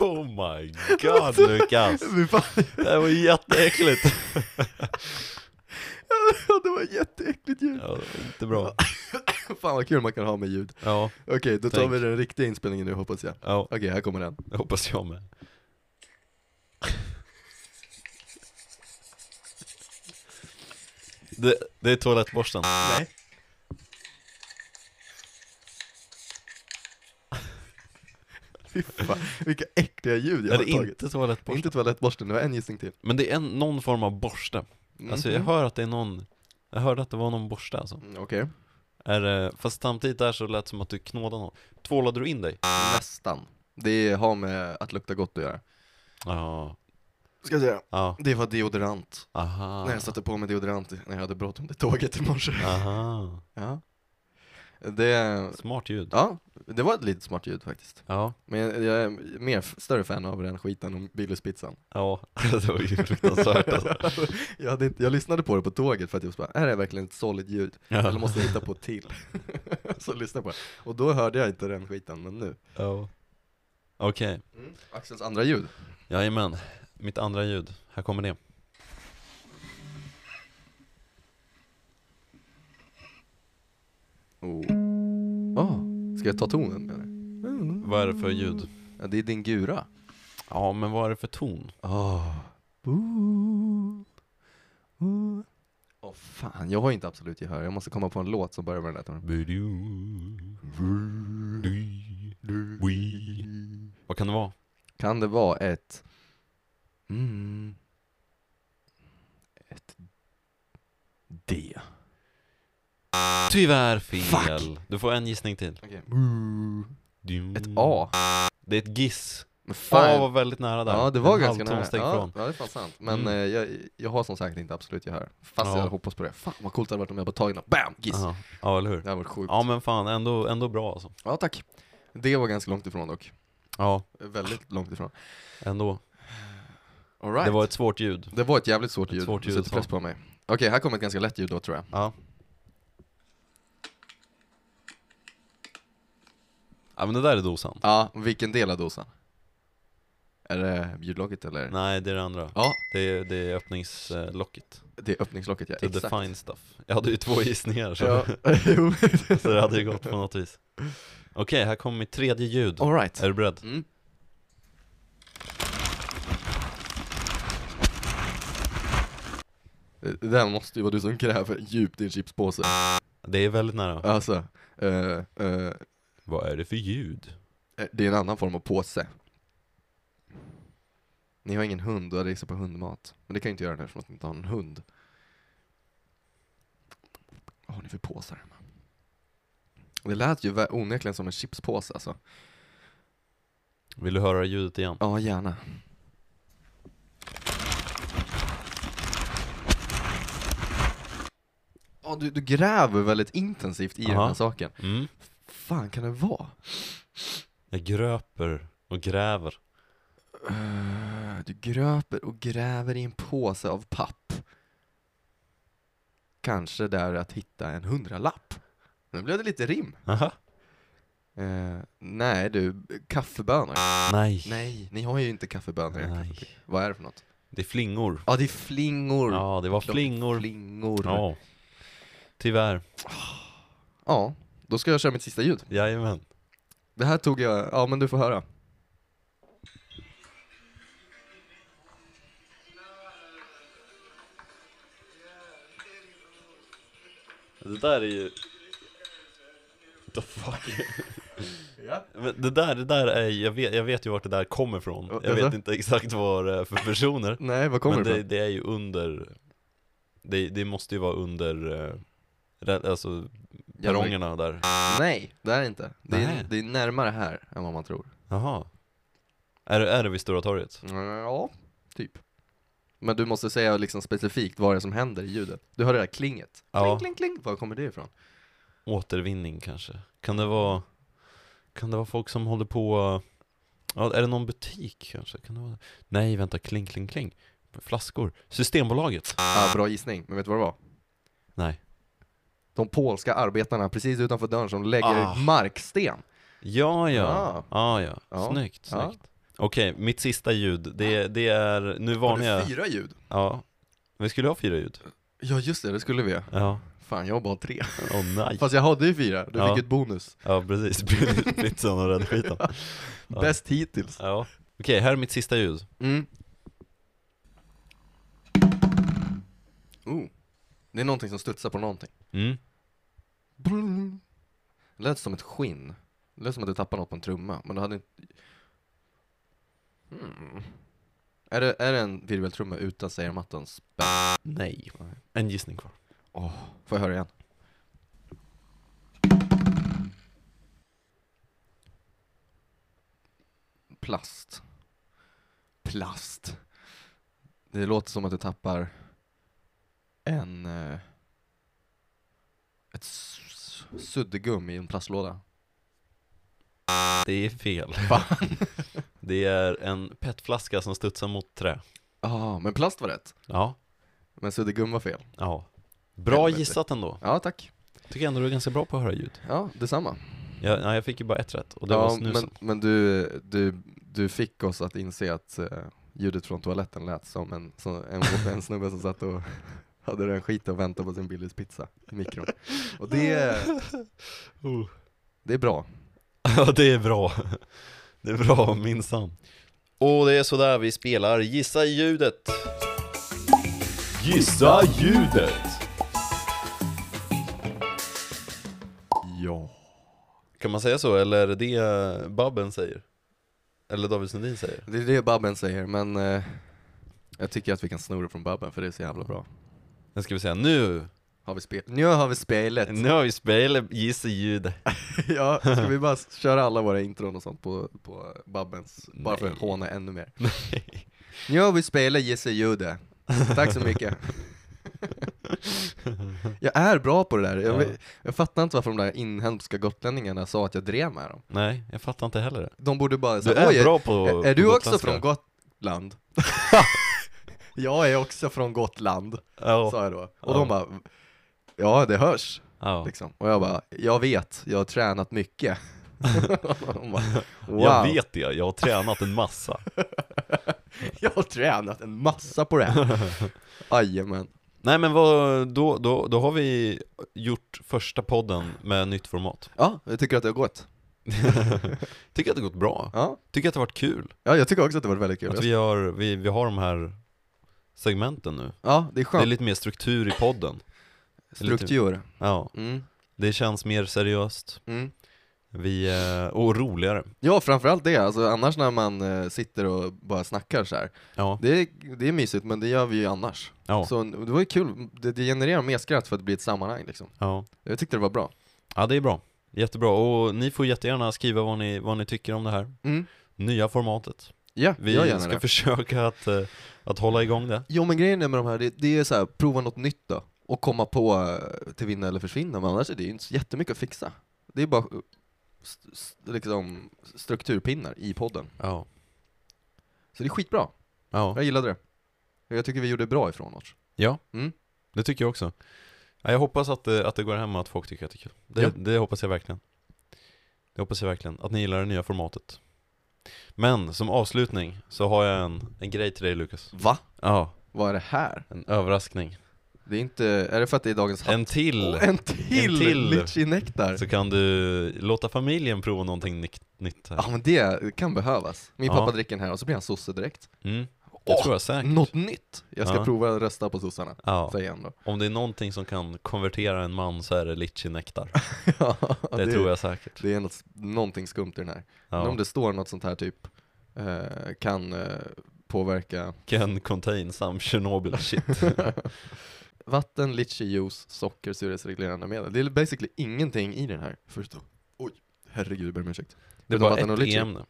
Oh my god Lukas!
Fy fan,
Det här var jätteäckligt!
det var ett jätteäckligt ljud.
Ja, det var inte bra.
Fan vad kul man kan ha med ljud.
Ja,
Okej, då tar
Tänk.
vi den riktiga inspelningen nu hoppas jag.
ja,
Okej, här kommer den.
det hoppas jag med. Det, det är toalettborsten.
Nej. Fy fan, vilka äckliga ljud jag
Är
har
det
tagit.
inte toalettborsten?
Inte toalettborsten, det var en gissning till.
Men det är en, någon form av borste. Alltså jag
Mhm.
hör att det är någon, jag hörde att det var någon borste alltså.
Mm, Okej,
Är det, fast samtidigt där så lät det som att du knådade någon. Tvålade du in dig?
nästan. Det har med att lukta gott att göra.
Ja,
Ska jag säga. Ah.
ja,
Det var deodorant.
aha.
När jag satte på mig deodorant när jag hade bråttom till tåget i morse.
Aha,
Ja. Det,
smart ljud.
ja, det var ett litet smart ljud faktiskt.
Ja,
Men jag, jag är mer, större fan av den skiten än Billys pizzan.
ja, det var ju fruktansvärt alltså.
jag, hade inte, jag lyssnade på det på tåget för att jag var så bara, är det verkligen ett solid ljud? Eller
Ja,
måste jag hitta på ett till? så lyssnade jag på det. Och då hörde jag inte den skiten, men nu.
ja. Okej,
Axels andra ljud.
jajamän. Mitt andra ljud, här kommer det.
Oh. Ah, ska jag ta tonen eller?
Vad är det för ljud?
Ja, det är din gura.
Ja, men vad är det för ton?
Åh. Ooh. Ooh. Åh fan, jag har ju inte absolut gehör. Jag måste komma på en låt som börjar med den där tonen.
Vad kan det vara?
Kan det vara ett... Mm, ett D.
Tyvärr fel. Du får en gissning till.
Okej. Ett A.
Det är ett giss.
Men
Fan
fan,
var väldigt nära där.
ja det var
En
ganska
halvton
nära.
steg
Ja,
ifrån.
ja, det är fan sant. Men
Mm.
eh, jag, jag har som sagt inte absolut gehör. Fast
Ja.
jag hoppas på det. Fan vad coolt det hade varit om jag bara tagit något, bam, Giss!
Ja, ja eller hur?
Det hade varit sjukt.
Ja men fan, ändå, ändå bra alltså.
Ja tack. Det var ganska långt ifrån dock.
Ja, Ah.
Väldigt långt ifrån.
ändå.
All right.
Det var ett svårt ljud.
det var ett jävligt svårt
Ett
ljud.
svårt
Du
ljud,
sätter press
ja.
på mig. Okej, här kommer ett ganska lätt ljud då tror jag.
Ja. Ja men det där är dosan.
Ja, vilken del av dosan? Är det ljudlocket eller?
Nej det är det andra.
Ja,
Det är, det är öppningslocket.
det är öppningslocket ja.
To
Exakt.
define stuff. Jag hade ju två gissningar så,
Ja. Jo.
så det hade ju gått på något vis. Okej, här kommer mitt tredje ljud.
All right.
Är du beredd?
Mm. Det där måste ju vara du som gräver djupt i en chipspåse.
Det är väldigt nära.
Alltså, eh, eh,
Vad är det för ljud?
det är en annan form av påse. Ni har ingen hund och jag gissar på hundmat. Men det kan jag inte göra nu eftersom att ni inte har en hund. Vad har ni för påsar hemma? Det lät ju vä- onekligen som en chipspåse alltså.
Vill du höra ljudet igen?
Ja, gärna. Ja, du, du gräver väldigt intensivt i den här
Aha.
saken.
Mm.
fan kan det vara?
Jag gröper och gräver.
Eh, Du gröper och gräver i en påse av papp. Kanske där att hitta en hundralapp. Nu blev det lite rim.
Aha.
Eh, nej du, kaffebönor.
Nej.
Nej, ni har ju inte kaffebönor. i ert
Nej.
kaffe. Vad är det för något?
Det är flingor.
Ja, det är flingor.
Ja, det var
De
flingor.
flingor. Ja.
Ja. Tyvärr.
ja, då ska jag köra mitt sista ljud.
Jajamän.
Det här tog jag, ja men du får höra.
Det där är ju... The fuck? Men det där, det där är, jag vet, jag vet ju vart det där kommer ifrån Jag vet
Jaså?
inte exakt vad det är för personer
Nej, var kommer
Men
det
det,
ifrån?
det är ju under det, det måste ju vara under eh, re- Alltså perrongerna där
Nej, det är det inte. Det är,
Nej.
det är närmare här än vad man tror.
Jaha är, det- är det vid Stora torget?
Mm, Ja, typ. Men du måste säga liksom specifikt vad det är som händer i ljudet. Du hör det där klinget. Kling,
Ja.
kling, kling. Var kommer det ifrån?
Återvinning kanske? Kan det vara Kan det vara folk som håller på ja, Är det någon butik kanske? Kan det vara, nej vänta, kling kling kling Flaskor Systembolaget?
Ah, bra gissning, men vet du vad det var?
Nej
De polska arbetarna precis utanför dörren som lägger
Ah.
marksten.
Ja, ja.
Ah.
Ah. ja.
Ja.
Snyggt,
Ja.
snyggt. Okej, mitt sista ljud, det, det är, nu
Har du
varnar jag.
fyra ljud?
Ja. Vi skulle ha fyra ljud.
Ja just det, det skulle vi.
Ja.
Fan, jag har bara tre.
Åh nej.
Fast jag hade ju fyra, du
Ja.
fick ett bonus.
Ja, precis. Pizzan och räddskiten. Ja.
Bäst hittills.
Ja. Okej, här är mitt sista ljud.
Mm. Oh. Det är någonting som studsar på någonting.
Mm.
Brrrr. Det lät som ett skinn. Det lät som att du tappade något på en trumma, men du hade inte... Hmm. Är, det, är det en virveltrumma utan sägermattans spä?
Nej. En gissning kvar.
Får jag höra igen? Plast. Plast. Det låter som att du tappar en... eh, Ett s- suddgum i en plastlåda.
Det är fel. Det är en petflaska som studsar mot trä.
Ja, men plast var rätt.
Ja.
Men suddgum var fel.
Ja. Bra
Helvete.
gissat ändå.
Ja, tack.
Tycker ändå du är ganska bra på att höra ljud.
Ja, detsamma.
Jag, ja, jag fick ju bara ett rätt och det var
ja,
snusen.
men men du, du, du fick oss att inse att eh, ljudet från toaletten lät som en, som en, en snubbe som satt och hade den skit och väntade på sin Billys pizza i mikron. Och det,
Oh.
det är bra.
Ja det är bra Det är bra minsann Och det är sådär vi spelar Gissa ljudet
Gissa ljudet!
Ja.
Kan man säga så eller är det det Babben säger? Eller David Sundin säger?
Det är det Babben säger, men eh, jag tycker att vi kan sno det från Babben för det är så jävla bra.
Nu ska vi säga nu
Har vi spel? Nu har vi spelet!
Nu har vi spelat Gissa ljud.
ja, ska vi bara köra alla våra intron och sånt på, på Babbens? Bara för att
Nej.
håna ännu mer. Nu har vi spelat Gissa ljudet. Tack så mycket. jag är bra på det där. Jag,
Ja.
vet- jag fattar inte varför de där inhemska gotlänningarna sa att jag drev med dem.
Nej, jag fattar inte heller det.
De borde bara
Du
säga,
är
"Oj,
bra på
är, är
på
du också
gotländska."
från Gotland? jag är också från Gotland,
Ja.
sa jag då. Och
Ja.
de bara, ja det hörs.
ja.
Liksom. Och jag bara, jag vet, jag har tränat mycket. Och de bara, wow,
Jag vet det, jag har tränat en massa.
jag har tränat en massa på det här. Jajamän.
Nej men vad, då, då, då har vi gjort första podden med nytt format.
Ja, jag tycker att det har gått.
Tycker att det gått bra.
Ja.
Tycker att det har varit kul.
ja, jag tycker också att det har varit väldigt kul.
Att vi har, vi, vi har de här segmenten nu.
Ja, det är
Det är
skönt.
lite mer struktur i podden.
Struktur.
Ja,
Mm,
det känns mer seriöst.
mm.
Vi, eh, och roligare.
Ja, framförallt det. Alltså, annars när man eh, sitter och bara snackar så här.
Ja,
Det är, det är mysigt, men det gör vi ju annars.
ja,
Så det var ju kul. Det, det genererar mer skratt för att det blir ett sammanhang liksom.
ja.
Jag tyckte det var bra.
Ja, det är bra. Jättebra. Och ni får jättegärna skriva vad ni, vad ni tycker om det här.
Mm.
Nya formatet.
Ja,
Vi
jag gärna
ska
det.
försöka att, eh, att hålla igång det.
Jo men grejen är med de här, det, det är så här, prova något nytt då. Och komma på eh, till vinna eller försvinna, men annars är det ju inte så jättemycket att fixa. Det är bara eh, st- st- liksom strukturpinnar i podden.
Ja.
Så det är skitbra.
Ja.
Jag gillade det. Jag tycker vi gjorde bra ifrån oss.
Ja,
Mm.
det tycker jag också. Ja, Jag hoppas att det, att det går hem och att folk tycker att det är kul. Det,
Ja.
det hoppas jag verkligen. Det hoppas jag verkligen, att ni gillar det nya formatet. Men som avslutning så har jag en, en grej till dig Lukas.
Va?
Ja,
Vad är det här?
en överraskning.
Det är inte, är det för att det är dagens hatt?
En till!
Åh, en till!
En till.
Litchi Nektar!
Så kan du låta familjen prova någonting nytt- nytt här.
Ja men det kan behövas. Min
Ja.
pappa dricker den här och så blir han sosse direkt.
Mm. Det
Åh,
tror jag säkert.
Något nytt! Jag ska
Ja.
prova att rösta på sossarna,
Ja,
säger han då.
om det är någonting som kan konvertera en man så är det litchi-nektar.
Ja,
Det tror jag säkert.
Det är något, någonting skumt i den här. Men
Ja.
om det står något sånt här typ, eh, kan eh, påverka
Can contain some Chernobyl shit.
vatten, litchi-juice, socker, surhetsreglerande medel. Det är basically ingenting i den här. Förutom, oj, herregud, jag ber om ursäkt.
Det är
Utom
bara
vatten och
ett
litchi.
ämne.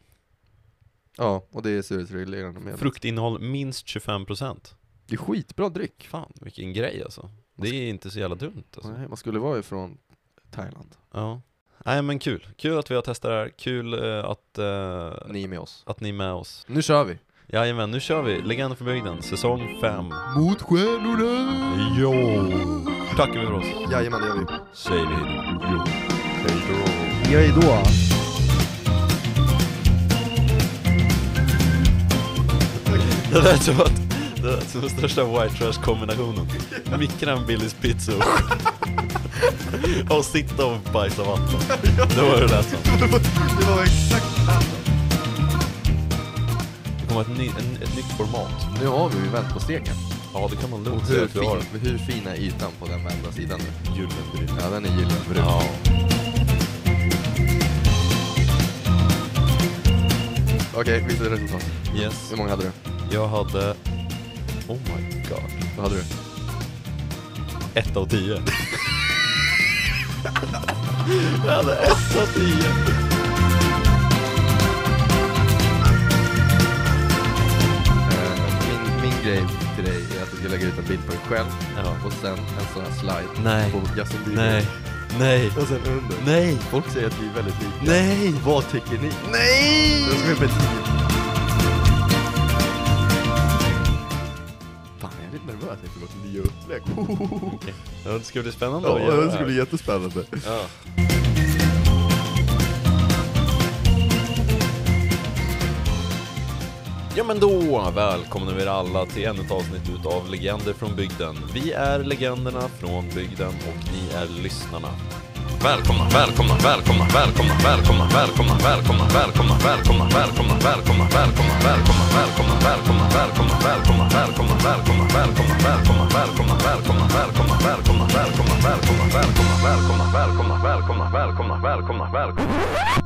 Ja, och det är surhetsreglerande medel.
Fruktinnehåll minst 25%
Det är skitbra dryck.
Fan, vilken grej alltså Det är inte så jävla dumt alltså.
Nej, man skulle vara ifrån Thailand.
Ja Nej men kul, kul att vi har testat det här, kul eh, att, eh,
Ni är med oss.
att ni är med oss
Nu kör vi!
Jajamän, nu kör vi! Legender för bygden, säsong 5
Mot stjärnorna!
Jo! Tackar vi för oss!
Jajamän, det gör vi.
Säg det Jo!
Hej då!
Det lät som att, det lät som den största white trash kombinationen typ. Mikra en Billys pizza och, och sitta och bajsa vatten Det var det där som
Det var exakt
Det kommer ett, ny, en, ett nytt format
Nu har vi ju vänt på steken.
Ja, det kan man
Och
lugnt säga
hur,
att vi har.
fin, hur fin är ytan på den vända sidan nu?
Julleverans.
Ja, den är gyllenbrun.
Ja.
Okej, vilket är resultat?
Yes.
Hur många hade du?
Jag hade... Oh my god.
Vad hade du?
Ett av tio. jag hade ett av tio.
Eh, min, min grej till dig är att du ska lägga ut en bild på dig själv
Ja.
och sen en sån här slide
Nej.
på Justin Bieber.
Nej. Nej.
Och sen under.
Nej.
Folk säger att vi är väldigt lika.
Nej.
Vad tycker ni?
Nej.
Jag ska upp ett Fan, jag är lite nervös inför vårt nya upplägg.
Ja, det ska bli spännande
Ja,
att göra
det
det
ska
här.
bli jättespännande.
Ja. Ja men då välkomnar vi er alla till ännu ett avsnitt utav Legender från bygden. Vi är legenderna från bygden och ni är lyssnarna. Välkomna, välkomna, välkomna, välkomna, välkomna, välkomna, välkomna, välkomna, välkomna, välkomna, välkomna, välkomna, välkomna, välkomna, välkomna, välkomna, välkomna, välkomna, välkomna, välkomna, välkomna, välkomna, välkomna, välkomna, välkomna, välkomna, välkomna, välkomna, välkomna, välkomna, välkomna, välkomna, välkomna, välkomna, välkomna.